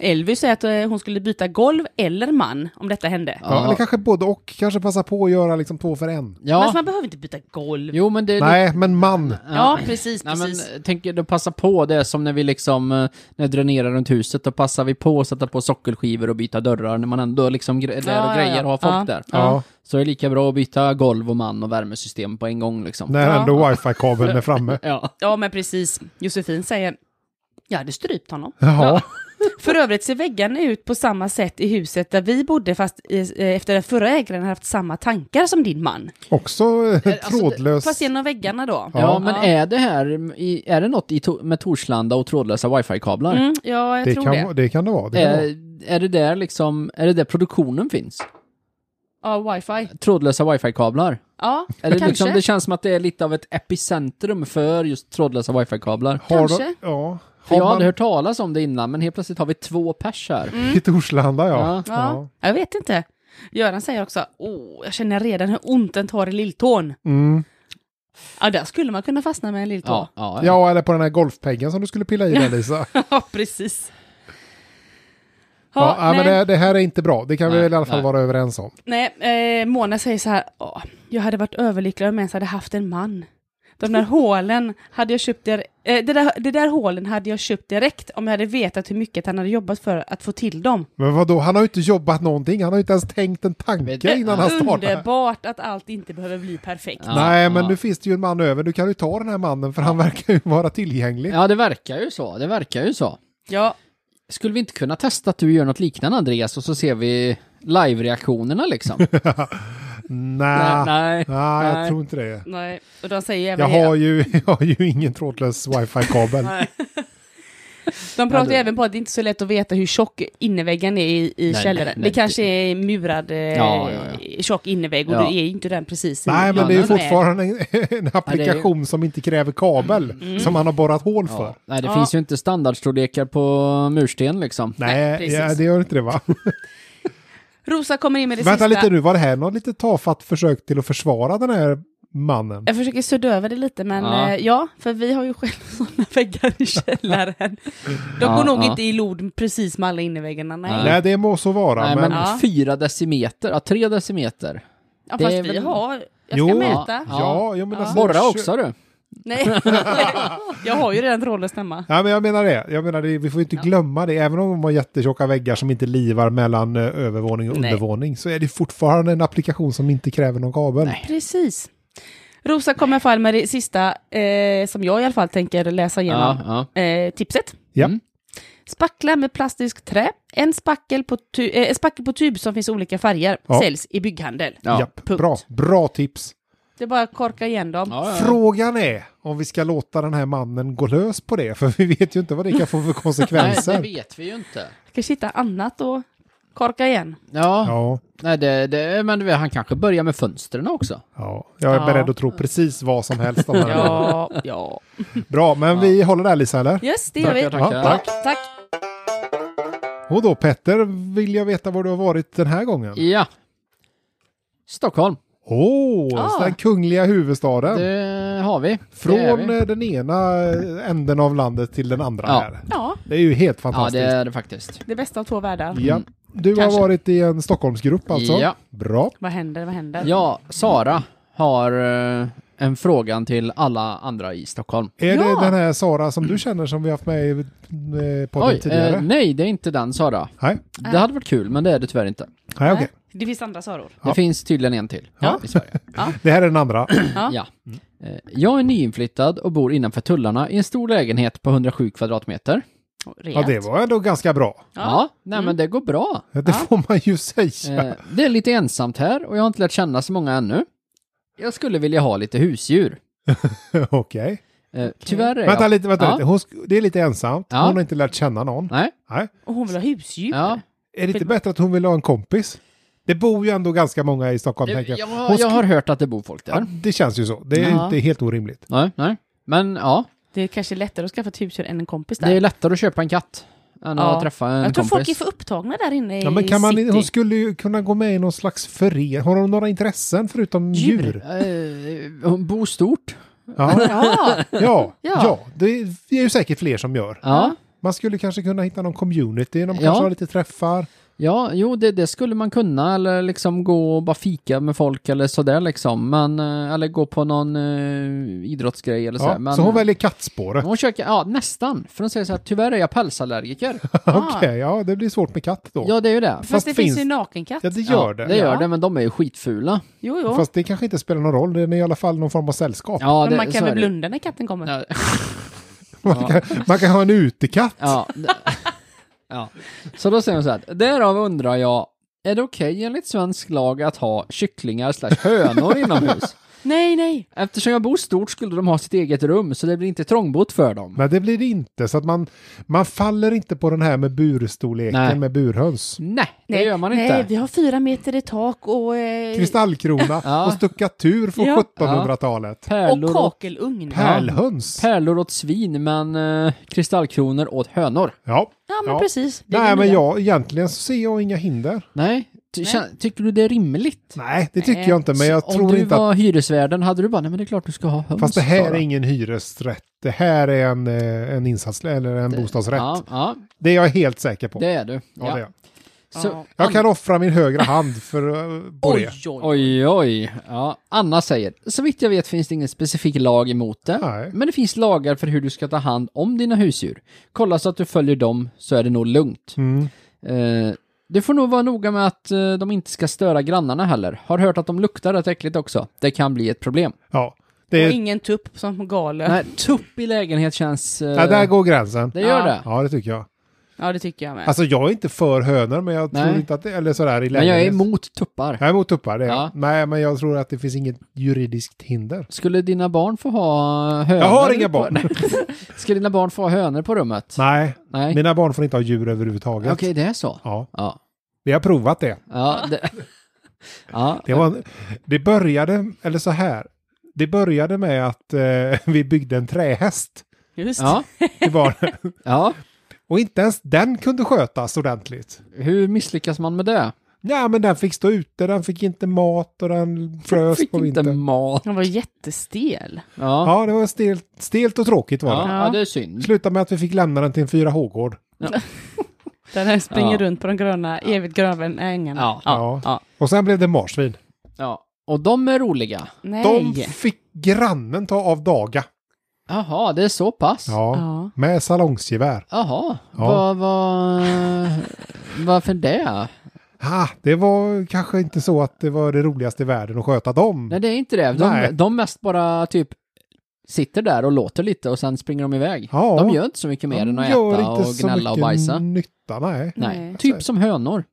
Speaker 3: Elvis säger att eh, hon skulle byta golv eller man om detta hände.
Speaker 2: Ja, eller kanske både och. Kanske passa på att göra liksom två för en.
Speaker 3: Men
Speaker 1: Ja,
Speaker 3: alltså, man behöver inte byta golv.
Speaker 1: jo men det...
Speaker 2: Nej, men man.
Speaker 3: Ja, precis,
Speaker 1: Nej,
Speaker 3: precis.
Speaker 1: men tänk då passa på det som när vi liksom, eh, när vi dränerar runt huset, då passar vi på att sätta på sockelskivor och byta dörrar när man ändå liksom gre- är där
Speaker 3: Ja,
Speaker 1: och
Speaker 3: ja,
Speaker 1: grejer
Speaker 3: ja.
Speaker 1: och har folk
Speaker 3: Ja.
Speaker 1: där.
Speaker 2: Ja,
Speaker 1: Så det är lika bra att byta golv och man och värmesystem på en gång liksom.
Speaker 2: när
Speaker 3: Ja.
Speaker 2: ändå wifi-kabeln
Speaker 1: [LAUGHS]
Speaker 2: är framme.
Speaker 1: Ja.
Speaker 3: Ja, men precis. Josefin säger, jag hade
Speaker 1: [LAUGHS]
Speaker 3: strypt honom.
Speaker 2: Ja,
Speaker 3: För övrigt ser väggarna ut på samma sätt i huset där vi bodde, fast i, eh, efter den förra ägaren hade haft samma tankar som din man.
Speaker 2: också
Speaker 1: Alltså,
Speaker 2: eh, trådlös.
Speaker 3: Fast genom väggarna då.
Speaker 1: Ja, men
Speaker 3: Ja.
Speaker 1: är det här, i- är det något i, to- med Torslanda och trådlösa wifi-kablar?
Speaker 3: Mm, ja, jag
Speaker 2: det,
Speaker 3: tror
Speaker 2: kan,
Speaker 3: det.
Speaker 2: vara- det kan det vara. Det kan vara.
Speaker 1: Är, är det där liksom, är det där produktionen finns?
Speaker 3: Ja, wifi.
Speaker 1: Trådlösa wifi-kablar?
Speaker 3: Ja,
Speaker 1: Eller
Speaker 3: kanske.
Speaker 1: liksom, det känns som att det är lite av ett epicentrum för just trådlösa wifi-kablar.
Speaker 2: Har
Speaker 3: Kanske.
Speaker 2: de- ja.
Speaker 1: För
Speaker 2: Har
Speaker 1: jag hade
Speaker 2: man Mm.
Speaker 1: hört talas om det innan, men helt plötsligt har vi två pers här.
Speaker 2: i Torslanda, ja.
Speaker 1: Ja.
Speaker 3: Ja, jag vet inte. Göran säger också, åh, jag känner redan hur ont den tar i lilltån.
Speaker 2: Mm.
Speaker 3: Ja, där skulle man kunna fastna med en lilltå.
Speaker 1: Ja, ja, ja.
Speaker 2: Ja, eller på den här golfpeggen som du skulle pilla i där,
Speaker 1: [LAUGHS]
Speaker 2: Lisa.
Speaker 3: [LAUGHS] Ja, precis.
Speaker 2: Ja,
Speaker 3: Ja,
Speaker 2: nej,
Speaker 3: nej,
Speaker 2: men det, det här är inte bra. Det kan vi
Speaker 1: Nej,
Speaker 2: väl i alla fall
Speaker 1: nej.
Speaker 2: vara överens om.
Speaker 3: nej eh, Mona säger så här, åh, jag hade varit överlycklig om jag ens hade haft en man. De där hålen hade jag köpt, dir- eh, det, där, det där hålen hade jag köpt direkt om jag hade vetat hur mycket han hade jobbat för att få till dem.
Speaker 2: Men vadå, han har ju inte jobbat någonting. Han har ju inte ens tänkt en tanke innan han startade.
Speaker 3: Underbart att allt inte behöver bli perfekt.
Speaker 1: Ja,
Speaker 2: Nej, men
Speaker 1: ja.
Speaker 2: nu finns det ju en man över. Du kan ju ta den här mannen för han verkar ju vara tillgänglig.
Speaker 1: ja, det verkar ju så. Det verkar ju så.
Speaker 3: Ja,
Speaker 1: Skulle vi inte kunna testa att du gör något liknande, Andreas, och så ser vi live-reaktionerna
Speaker 2: [LAUGHS]
Speaker 1: liksom? nej,
Speaker 2: Nej, nej,
Speaker 1: nej,
Speaker 2: jag tror inte det.
Speaker 3: nej. Och de säger
Speaker 2: Jag
Speaker 3: även...
Speaker 2: har ju, [LAUGHS] jag har ju ingen trådlös wifi-kabel.
Speaker 3: [LAUGHS] De pratar ju
Speaker 1: det-
Speaker 3: även på att det inte är så lätt att veta hur tjock innerväggen är i, i
Speaker 1: nej,
Speaker 3: källaren.
Speaker 1: nej,
Speaker 3: det kanske är murad eh,
Speaker 1: Ja, ja,
Speaker 3: tjock innervägg och
Speaker 1: Ja.
Speaker 3: du är ju inte den precis i-
Speaker 2: Nej, men
Speaker 1: Ja,
Speaker 2: det är ju
Speaker 1: den
Speaker 3: är-
Speaker 2: fortfarande en, [LAUGHS] en applikation som inte kräver kabel, som han har borrat hål för.
Speaker 1: Mm. Ja. Nej, det
Speaker 3: Ja.
Speaker 1: finns ju inte standardstorlekar på mursten liksom.
Speaker 2: Nej,
Speaker 3: precis.
Speaker 2: ja, det gör inte det va?
Speaker 3: Rosa kommer in med det
Speaker 2: Vänta
Speaker 3: sista.
Speaker 2: lite nu, var det här något lite tafatt försök till att försvara den här mannen?
Speaker 3: Jag försöker sudda över det lite, men
Speaker 1: Ja.
Speaker 3: ja, eh, ja för vi har ju själva [LAUGHS] sådana väggar i källaren. De
Speaker 1: Ja,
Speaker 3: går nog
Speaker 1: ja.
Speaker 3: inte i lod precis med alla innerväggarna. Nej.
Speaker 1: Nej.
Speaker 2: Nej, det må så vara,
Speaker 1: nej,
Speaker 2: men...
Speaker 1: men
Speaker 3: Ja.
Speaker 1: fyra decimeter, ja, tre decimeter.
Speaker 3: ja,
Speaker 1: det
Speaker 3: fast
Speaker 1: är
Speaker 3: vi
Speaker 1: väl-
Speaker 3: har... Jag ska
Speaker 2: Jo.
Speaker 3: mäta.
Speaker 1: Ja.
Speaker 2: Ja, jo, men alltså,
Speaker 1: Borra
Speaker 2: kö-
Speaker 1: också du. [LAUGHS]
Speaker 3: Nej, jag har ju redan trådlös hemma.
Speaker 2: Ja, men jag menar det. Jag menar det, vi får ju inte glömma det. Även om de har jättetjocka väggar som inte livar mellan eh, övervåning och
Speaker 3: Nej.
Speaker 2: undervåning så är det fortfarande en applikation som inte kräver någon kabel.
Speaker 1: Nej.
Speaker 3: Precis. Rosa kommer fall med det sista, eh, som jag i alla fall tänker läsa igenom.
Speaker 1: Ja, ja.
Speaker 3: eh, tipset.
Speaker 2: Ja.
Speaker 1: Mm.
Speaker 3: Spackla med plastisk trä. En spackel på, tu- eh, spackel på tub som finns olika färger
Speaker 2: Ja.
Speaker 3: säljs i bygghandel.
Speaker 1: Ja.
Speaker 2: Japp,
Speaker 3: punkt.
Speaker 2: bra. Bra tips.
Speaker 3: Det är bara att korka igen dem.
Speaker 1: Ja, ja, ja.
Speaker 2: Frågan är om vi ska låta den här mannen gå lös på det, för vi vet ju inte vad det kan få för
Speaker 1: Nej, det
Speaker 2: konsekvenser.
Speaker 1: vet vi ju inte.
Speaker 3: Kanske hitta annat och korka igen.
Speaker 1: Ja,
Speaker 2: Ja,
Speaker 1: Nej, det, det, men du vet, han kanske börjar med fönstren också.
Speaker 2: ja, jag är
Speaker 3: Ja.
Speaker 2: beredd att tro precis vad som helst om
Speaker 1: [LAUGHS]
Speaker 2: den här mannen.
Speaker 3: Ja, ja.
Speaker 2: Bra, men vi håller där Lisa, eller?
Speaker 3: Yes, det gör vi.
Speaker 1: Tackar,
Speaker 2: Ja,
Speaker 1: tackar.
Speaker 2: tack.
Speaker 3: Tack.
Speaker 2: Och då Petter, vill jag veta var du har varit den här gången?
Speaker 1: Ja. Stockholm,
Speaker 2: Åh,
Speaker 3: Ah.
Speaker 2: den kungliga huvudstaden.
Speaker 1: det har vi. det är
Speaker 2: Från
Speaker 1: vi.
Speaker 2: eh, den ena eh, änden av landet till den andra
Speaker 1: Ja.
Speaker 2: här.
Speaker 3: Ja,
Speaker 2: Det är ju helt
Speaker 1: Ja,
Speaker 2: fantastiskt.
Speaker 1: det är det faktiskt.
Speaker 3: det bästa av två världar.
Speaker 2: Ja. Du
Speaker 1: Kanske.
Speaker 2: har varit i en Stockholmsgrupp alltså?
Speaker 1: Ja.
Speaker 2: Bra.
Speaker 3: Vad händer, vad händer?
Speaker 1: Ja, Sara har eh, en frågan till alla andra i Stockholm.
Speaker 2: Är
Speaker 3: Ja.
Speaker 2: det den här Sara som du känner som vi haft med i eh, podden
Speaker 1: Oj,
Speaker 2: tidigare?
Speaker 1: eh, nej det är inte den Sara.
Speaker 2: Nej,
Speaker 1: Det hade varit kul, men det är det tyvärr inte.
Speaker 2: Nej okej.
Speaker 3: Det finns andra Saror.
Speaker 1: Det
Speaker 2: Ja.
Speaker 1: finns tydligen en till
Speaker 2: Ja.
Speaker 1: i Sverige.
Speaker 2: Det här är
Speaker 1: [CLEARS THROAT]
Speaker 2: den andra.
Speaker 3: Ja.
Speaker 1: Ja. Eh, Jag är nyinflyttad och bor innanför tullarna i en stor lägenhet på 107 kvadratmeter.
Speaker 2: Ja, det var ändå ganska bra.
Speaker 1: Ja, nej men det går bra.
Speaker 2: Det får man ju säga.
Speaker 1: Eh, Det är lite ensamt här och jag har inte lärt känna så många ännu. Jag skulle vilja ha lite husdjur.
Speaker 2: [LAUGHS] Okej.
Speaker 1: Eh, Tyvärr är
Speaker 2: Vänta
Speaker 1: jag...
Speaker 2: lite, vänta
Speaker 1: Ja.
Speaker 2: lite. Hon, sk- det är lite ensamt.
Speaker 1: Ja.
Speaker 2: Hon har inte lärt känna någon.
Speaker 1: Nej,
Speaker 2: Nej.
Speaker 3: Och hon vill ha husdjur.
Speaker 1: ja.
Speaker 2: Är det inte bättre att hon vill ha en kompis? Det bor ju ändå ganska många i Stockholm,
Speaker 1: Jag,
Speaker 2: tänker jag. Hon
Speaker 1: jag, jag
Speaker 2: sk-
Speaker 1: har hört att det bor folk
Speaker 2: ja,
Speaker 1: där.
Speaker 2: det känns ju så. Det är
Speaker 3: Ja.
Speaker 2: inte helt orimligt.
Speaker 1: Nej, nej. Men ja,
Speaker 3: Det är kanske lättare att skaffa ett husdjur än en kompis där.
Speaker 1: det är lättare att köpa en katt än
Speaker 3: Ja.
Speaker 1: att träffa en
Speaker 3: jag tror folk är
Speaker 1: kompis.
Speaker 3: för upptagna där inne
Speaker 2: Ja, men kan
Speaker 3: i
Speaker 2: man,
Speaker 3: city.
Speaker 2: hon skulle ju kunna gå med i någon slags förening. Har hon några intressen förutom djur?
Speaker 1: Eh, hon bor stort.
Speaker 2: Ja,
Speaker 3: Ja,
Speaker 2: ja, ja.
Speaker 1: Ja.
Speaker 2: det är ju säkert fler som gör.
Speaker 1: Ja.
Speaker 2: Man skulle kanske kunna hitta någon community, de kanske
Speaker 1: Ja.
Speaker 2: har lite träffar.
Speaker 1: Ja, jo det, det skulle man kunna, eller liksom gå och bara fika med folk eller sådär liksom, men, eh, eller gå på någon eh, idrottsgrej eller
Speaker 2: Ja,
Speaker 1: sådär. Men,
Speaker 2: Så hon väljer kattspåret.
Speaker 1: Hon försöker, ja nästan, för hon säger så här, tyvärr är jag pälsallergiker.
Speaker 2: Okej, ja det blir svårt med katt då. Ja,
Speaker 1: ja, det är ju det.
Speaker 3: Fast,
Speaker 2: Fast
Speaker 3: det
Speaker 2: finns-
Speaker 3: finns ju nakenkatt.
Speaker 2: det gör det.
Speaker 1: Ja, det gör
Speaker 3: Ja.
Speaker 1: det, men de är ju skitfula.
Speaker 3: Jo, jo.
Speaker 2: Fast det kanske inte spelar någon roll, det är i alla fall någon form av sällskap.
Speaker 1: Ja,
Speaker 3: men
Speaker 1: det,
Speaker 3: man
Speaker 1: så
Speaker 3: kan väl
Speaker 1: är det.
Speaker 3: blunda när katten kommer.
Speaker 1: Ja,
Speaker 2: Man, kan, man kan ha en utekatt.
Speaker 1: ja, det- [LAUGHS] ja. Så då säger hon så här, därav
Speaker 3: [LAUGHS]
Speaker 1: undrar jag, är det okej enligt svensk lag att ha kycklingar slash hönor inomhus?
Speaker 3: Nej, nej.
Speaker 1: Eftersom jag bor stort skulle de ha sitt eget rum, så det blir inte trångbott för dem.
Speaker 2: Men det blir det inte, så att man, man faller inte på den här med burstorleken
Speaker 1: Nej.
Speaker 2: med burhöns.
Speaker 1: Nej, det
Speaker 3: nej.
Speaker 1: gör man
Speaker 3: Nej,
Speaker 1: inte.
Speaker 3: vi har fyra meter i tak och... Eh,
Speaker 2: Kristallkrona
Speaker 1: Ja.
Speaker 2: och stuckatur från
Speaker 3: Ja.
Speaker 2: 1700-talet.
Speaker 1: Pärlor
Speaker 3: och
Speaker 1: åt,
Speaker 3: kakelugn.
Speaker 2: Pärlhöns.
Speaker 1: pärlor åt svin, men eh, kristallkronor åt hönor.
Speaker 2: Ja.
Speaker 3: Ja, men
Speaker 2: Ja.
Speaker 3: precis. Det är det
Speaker 2: Nej, men
Speaker 3: nya.
Speaker 2: jag, egentligen så ser jag inga hinder.
Speaker 1: Nej, ty,
Speaker 3: Nej.
Speaker 1: kän- tycker du det är rimligt?
Speaker 2: Nej, det tycker
Speaker 3: Nej.
Speaker 2: jag inte, men jag
Speaker 1: Så om
Speaker 2: tror
Speaker 1: du
Speaker 2: inte att...
Speaker 1: var hyresvärden hade du bara, nej men det är klart du ska ha höns.
Speaker 2: Fast det här är
Speaker 1: Sara."
Speaker 2: ingen hyresrätt. Det här är en, eh, en insats eller en bostadsrätt.
Speaker 1: Ja, ja,
Speaker 2: Det är jag helt säker på.
Speaker 1: det är du.
Speaker 2: ja. det är. jag.
Speaker 1: Så,
Speaker 3: Ja.
Speaker 2: Jag kan offra min högra hand för, eh, på
Speaker 3: Oj,
Speaker 2: det.
Speaker 3: oj, oj.
Speaker 1: Oj, oj. Ja, Anna säger, så vitt jag vet finns det ingen specifik lag emot det.
Speaker 2: Nej.
Speaker 1: Men det finns lagar för hur du ska ta hand om dina husdjur. Kolla så att du följer dem, så är det nog lugnt.
Speaker 2: Mm.
Speaker 1: Eh, du får nog vara noga med att eh, de inte ska störa grannarna heller. Har hört att de luktar rätt äckligt också. Det kan bli ett problem.
Speaker 2: Ja, det är,
Speaker 3: Och ingen tupp som galen.
Speaker 1: Nej, tupp i lägenhet känns... eh,
Speaker 2: ja, där går gränsen.
Speaker 1: det gör
Speaker 3: Ja.
Speaker 1: det.
Speaker 2: Ja, det tycker jag.
Speaker 3: Ja, det tycker jag med.
Speaker 2: Alltså jag är inte för hönor, men jag
Speaker 1: Nej.
Speaker 2: tror inte att det, eller sådär i
Speaker 1: Men jag är
Speaker 2: lägenhet.
Speaker 1: emot tuppar.
Speaker 2: Jag är emot tuppar, det är jag.
Speaker 1: Ja.
Speaker 2: Nej, men jag tror att det finns inget juridiskt hinder.
Speaker 1: Skulle dina barn få ha hönor?
Speaker 2: Jag har inga
Speaker 1: på-
Speaker 2: barn.
Speaker 1: [LAUGHS] Ska dina barn få ha hönor på rummet?
Speaker 2: Nej,
Speaker 1: Nej.
Speaker 2: mina barn får inte ha djur överhuvudtaget.
Speaker 1: Okej, det är så.
Speaker 2: Ja,
Speaker 1: Ja.
Speaker 2: vi har provat det.
Speaker 1: Ja, det... [LAUGHS] ja.
Speaker 2: Det, var, det började, eller så här. Det började med att eh, [LAUGHS] vi byggde en trähäst.
Speaker 3: Just.
Speaker 1: Ja, [LAUGHS]
Speaker 2: Det var,
Speaker 1: ja.
Speaker 2: och inte ens den kunde skötas ordentligt.
Speaker 1: Hur misslyckas man med det?
Speaker 2: Nej, men den fick stå ute, den fick inte mat och den frös
Speaker 1: Fick
Speaker 2: på
Speaker 1: inte
Speaker 2: vintern.
Speaker 1: mat.
Speaker 3: Han var jättestel.
Speaker 1: Ja.
Speaker 2: Ja, det var stelt, stelt och tråkigt var
Speaker 1: Ja.
Speaker 2: det.
Speaker 1: ja, det är synd.
Speaker 2: Slutade med att vi fick lämna den till en 4H-gård.
Speaker 3: Den här springer
Speaker 1: Ja.
Speaker 3: runt på de gröna, evigt gröna ängarna.
Speaker 1: Ja.
Speaker 2: Ja.
Speaker 3: ja.
Speaker 2: Och sen blev det marsvin.
Speaker 1: Ja. Och de är roliga.
Speaker 3: Nej.
Speaker 2: De fick grannen ta av daga.
Speaker 1: Jaha, det är så pass?
Speaker 2: Ja.
Speaker 3: Ja.
Speaker 2: Med salongsgevär.
Speaker 1: Jaha,
Speaker 2: Ja.
Speaker 1: vad, vad, varför det?
Speaker 2: Ah, det var kanske inte så att det var det roligaste i världen att sköta dem.
Speaker 1: Nej, det är inte det.
Speaker 2: Nej.
Speaker 1: De, de mest bara typ sitter där och låter lite och sen springer de iväg.
Speaker 2: Ja.
Speaker 1: De gör inte så mycket mer än att
Speaker 2: gör
Speaker 1: äta och
Speaker 2: så
Speaker 1: gnälla och
Speaker 2: mycket
Speaker 1: bajsa.
Speaker 2: nytta, nej.
Speaker 1: Nej.
Speaker 3: Nej.
Speaker 1: typ som hönor.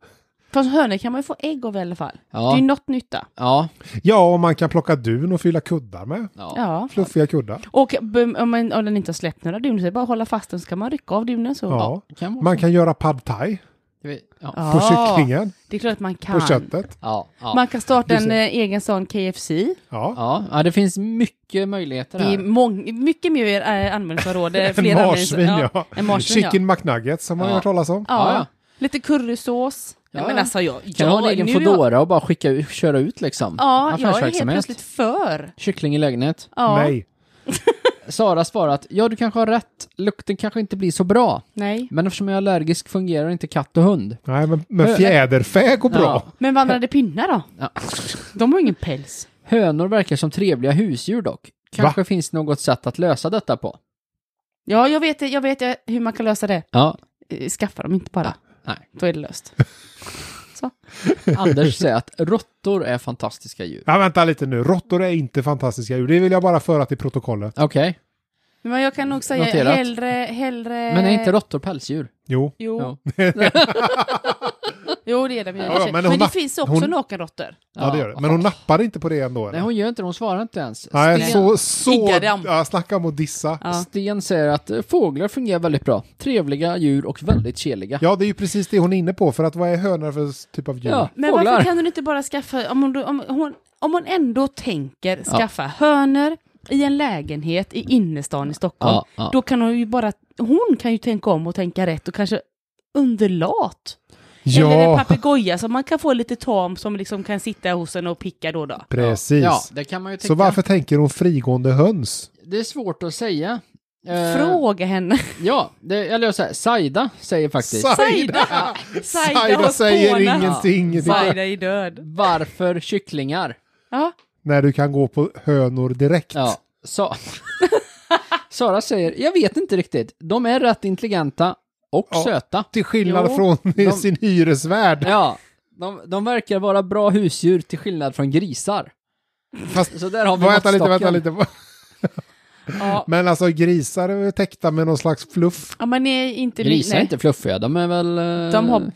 Speaker 3: Fast hönor kan man ju få ägg av i alla fall. Det är
Speaker 1: Ja,
Speaker 3: ju något nytta.
Speaker 1: ja,
Speaker 2: Ja, och man kan plocka dun och fylla kuddar med.
Speaker 1: ja.
Speaker 3: Ja.
Speaker 2: Fluffiga kuddar.
Speaker 3: Och b- om, man, om den inte har släppt några dunor så är det bara att hålla fast den så kan man rycka av dunen så.
Speaker 2: Ja.
Speaker 1: Kan vara
Speaker 2: Man kan göra pad thai
Speaker 1: så. Ja.
Speaker 3: Ja.
Speaker 2: på kycklingen,
Speaker 3: Det är klart att man kan.
Speaker 2: på köttet.
Speaker 1: Ja, ja.
Speaker 3: Man kan starta
Speaker 2: Du
Speaker 3: en
Speaker 2: ser.
Speaker 3: eh, egen sån KFC.
Speaker 2: Ja.
Speaker 1: Ja, ja, det finns mycket möjligheter
Speaker 3: Det är
Speaker 1: här.
Speaker 3: mång- mycket mer
Speaker 1: [LAUGHS]
Speaker 3: eh, användningsområde.
Speaker 2: En
Speaker 3: fler
Speaker 2: marsvin,
Speaker 3: användnings-
Speaker 2: ja.
Speaker 3: En marsvin, ja.
Speaker 2: Chicken McNuggets som man
Speaker 1: Ja.
Speaker 2: har hört talas om.
Speaker 1: Ja,
Speaker 3: ja.
Speaker 1: ja.
Speaker 3: Lite currysås.
Speaker 1: Ja,
Speaker 3: Nej, men
Speaker 1: ja.
Speaker 3: alltså jag...
Speaker 1: Kan
Speaker 3: ja,
Speaker 1: ha en egen
Speaker 3: nu är jag-
Speaker 1: Foodora och bara skicka ut, köra ut liksom?
Speaker 3: Ja, jag är helt
Speaker 1: Affärsverksamhet.
Speaker 3: plötsligt för.
Speaker 1: Kyckling i lägenhet.
Speaker 3: Ja.
Speaker 2: Nej.
Speaker 1: Sara svarat, ja du kanske har rätt, lukten kanske inte blir så bra.
Speaker 3: Nej.
Speaker 1: Men eftersom jag är allergisk fungerar inte katt och hund.
Speaker 2: Nej, men, men
Speaker 1: Hö-
Speaker 2: fjäderfä går
Speaker 1: Ja.
Speaker 2: bra.
Speaker 3: Men vandrade pinnar då?
Speaker 1: Ja.
Speaker 3: De har ju ingen päls.
Speaker 1: Hönor verkar som trevliga husdjur dock. Kanske finns något sätt att lösa detta på.
Speaker 3: Ja, jag vet, jag vet eh, hur man kan lösa det.
Speaker 1: Ja.
Speaker 3: Eh, Skaffa dem inte bara.
Speaker 1: Nej.
Speaker 3: Då är det löst.
Speaker 1: Anders säger att råttor är fantastiska djur.
Speaker 2: Ja, vänta lite nu. Råttor är inte fantastiska djur. Det vill jag bara föra till protokollet.
Speaker 1: Okej,
Speaker 3: Men jag kan nog säga
Speaker 1: Noterat.
Speaker 3: hellre, hellre...
Speaker 1: men är inte råttor pälsdjur?
Speaker 2: Jo.
Speaker 3: Eh. Jo,
Speaker 1: Ja.
Speaker 3: jo det är det. Men,
Speaker 2: Ja, ja, men
Speaker 3: men,
Speaker 2: hon
Speaker 3: det
Speaker 2: napp-
Speaker 3: finns också
Speaker 2: hon-
Speaker 3: nakenråttor.
Speaker 2: Ja, det gör det. Men hon nappade inte på det ändå.
Speaker 1: Nej,
Speaker 2: Eller?
Speaker 1: hon gör inte det. Hon svarar inte ens.
Speaker 2: Nej,
Speaker 1: Sten,
Speaker 2: så... så
Speaker 3: Iggar dem.
Speaker 2: ja, snacka om att dissa. Ja.
Speaker 3: Ja.
Speaker 1: Sten säger att eh, fåglar fungerar väldigt bra. Trevliga djur och väldigt keliga.
Speaker 2: det är ju precis det hon är inne på. För att vad är hönor för typ av djur?
Speaker 1: Ja,
Speaker 3: Men
Speaker 1: fåglar.
Speaker 3: varför kan hon inte bara skaffa, om hon, om hon, om hon ändå tänker skaffa hönor i en lägenhet i innerstan i Stockholm,
Speaker 1: Ja, ja.
Speaker 3: då kan hon ju bara, hon kan ju tänka om och tänka rätt och kanske underlat. Eller en
Speaker 2: Ja,
Speaker 3: papegoja som man kan få lite tam som liksom kan sitta hos en och picka då och då.
Speaker 2: precis.
Speaker 1: Ja, det kan man ju tänka.
Speaker 2: Så varför tänker hon frigående höns?
Speaker 1: Det är svårt att säga. Eh,
Speaker 2: [LAUGHS]
Speaker 3: Fråga henne.
Speaker 1: Ja, det, eller jag säger, Saida säger faktiskt.
Speaker 3: Saida! Saida
Speaker 2: Saida
Speaker 3: har
Speaker 2: säger
Speaker 3: spånat.
Speaker 2: ingenting.
Speaker 3: Saida är död.
Speaker 1: Varför kycklingar?
Speaker 3: Ja.
Speaker 2: När du kan gå på hönor direkt.
Speaker 1: Ja, Sa- [LAUGHS] Sara säger, jag vet inte riktigt. De är rätt intelligenta och
Speaker 2: Ja.
Speaker 1: söta.
Speaker 2: Till skillnad
Speaker 1: Jo,
Speaker 2: från
Speaker 1: de-
Speaker 2: sin hyresvärd.
Speaker 1: Ja, de, de verkar vara bra husdjur till skillnad från grisar.
Speaker 2: Fast-
Speaker 1: Så där har vi
Speaker 2: Vänta lite, vänta
Speaker 1: måttstocken.
Speaker 2: lite.
Speaker 3: Ja.
Speaker 2: Men alltså grisar är väl täckta med någon slags fluff.
Speaker 3: ja, men är inte...
Speaker 1: Grisar är
Speaker 3: nej.
Speaker 1: inte fluffiga, de är väl... eh,
Speaker 3: De har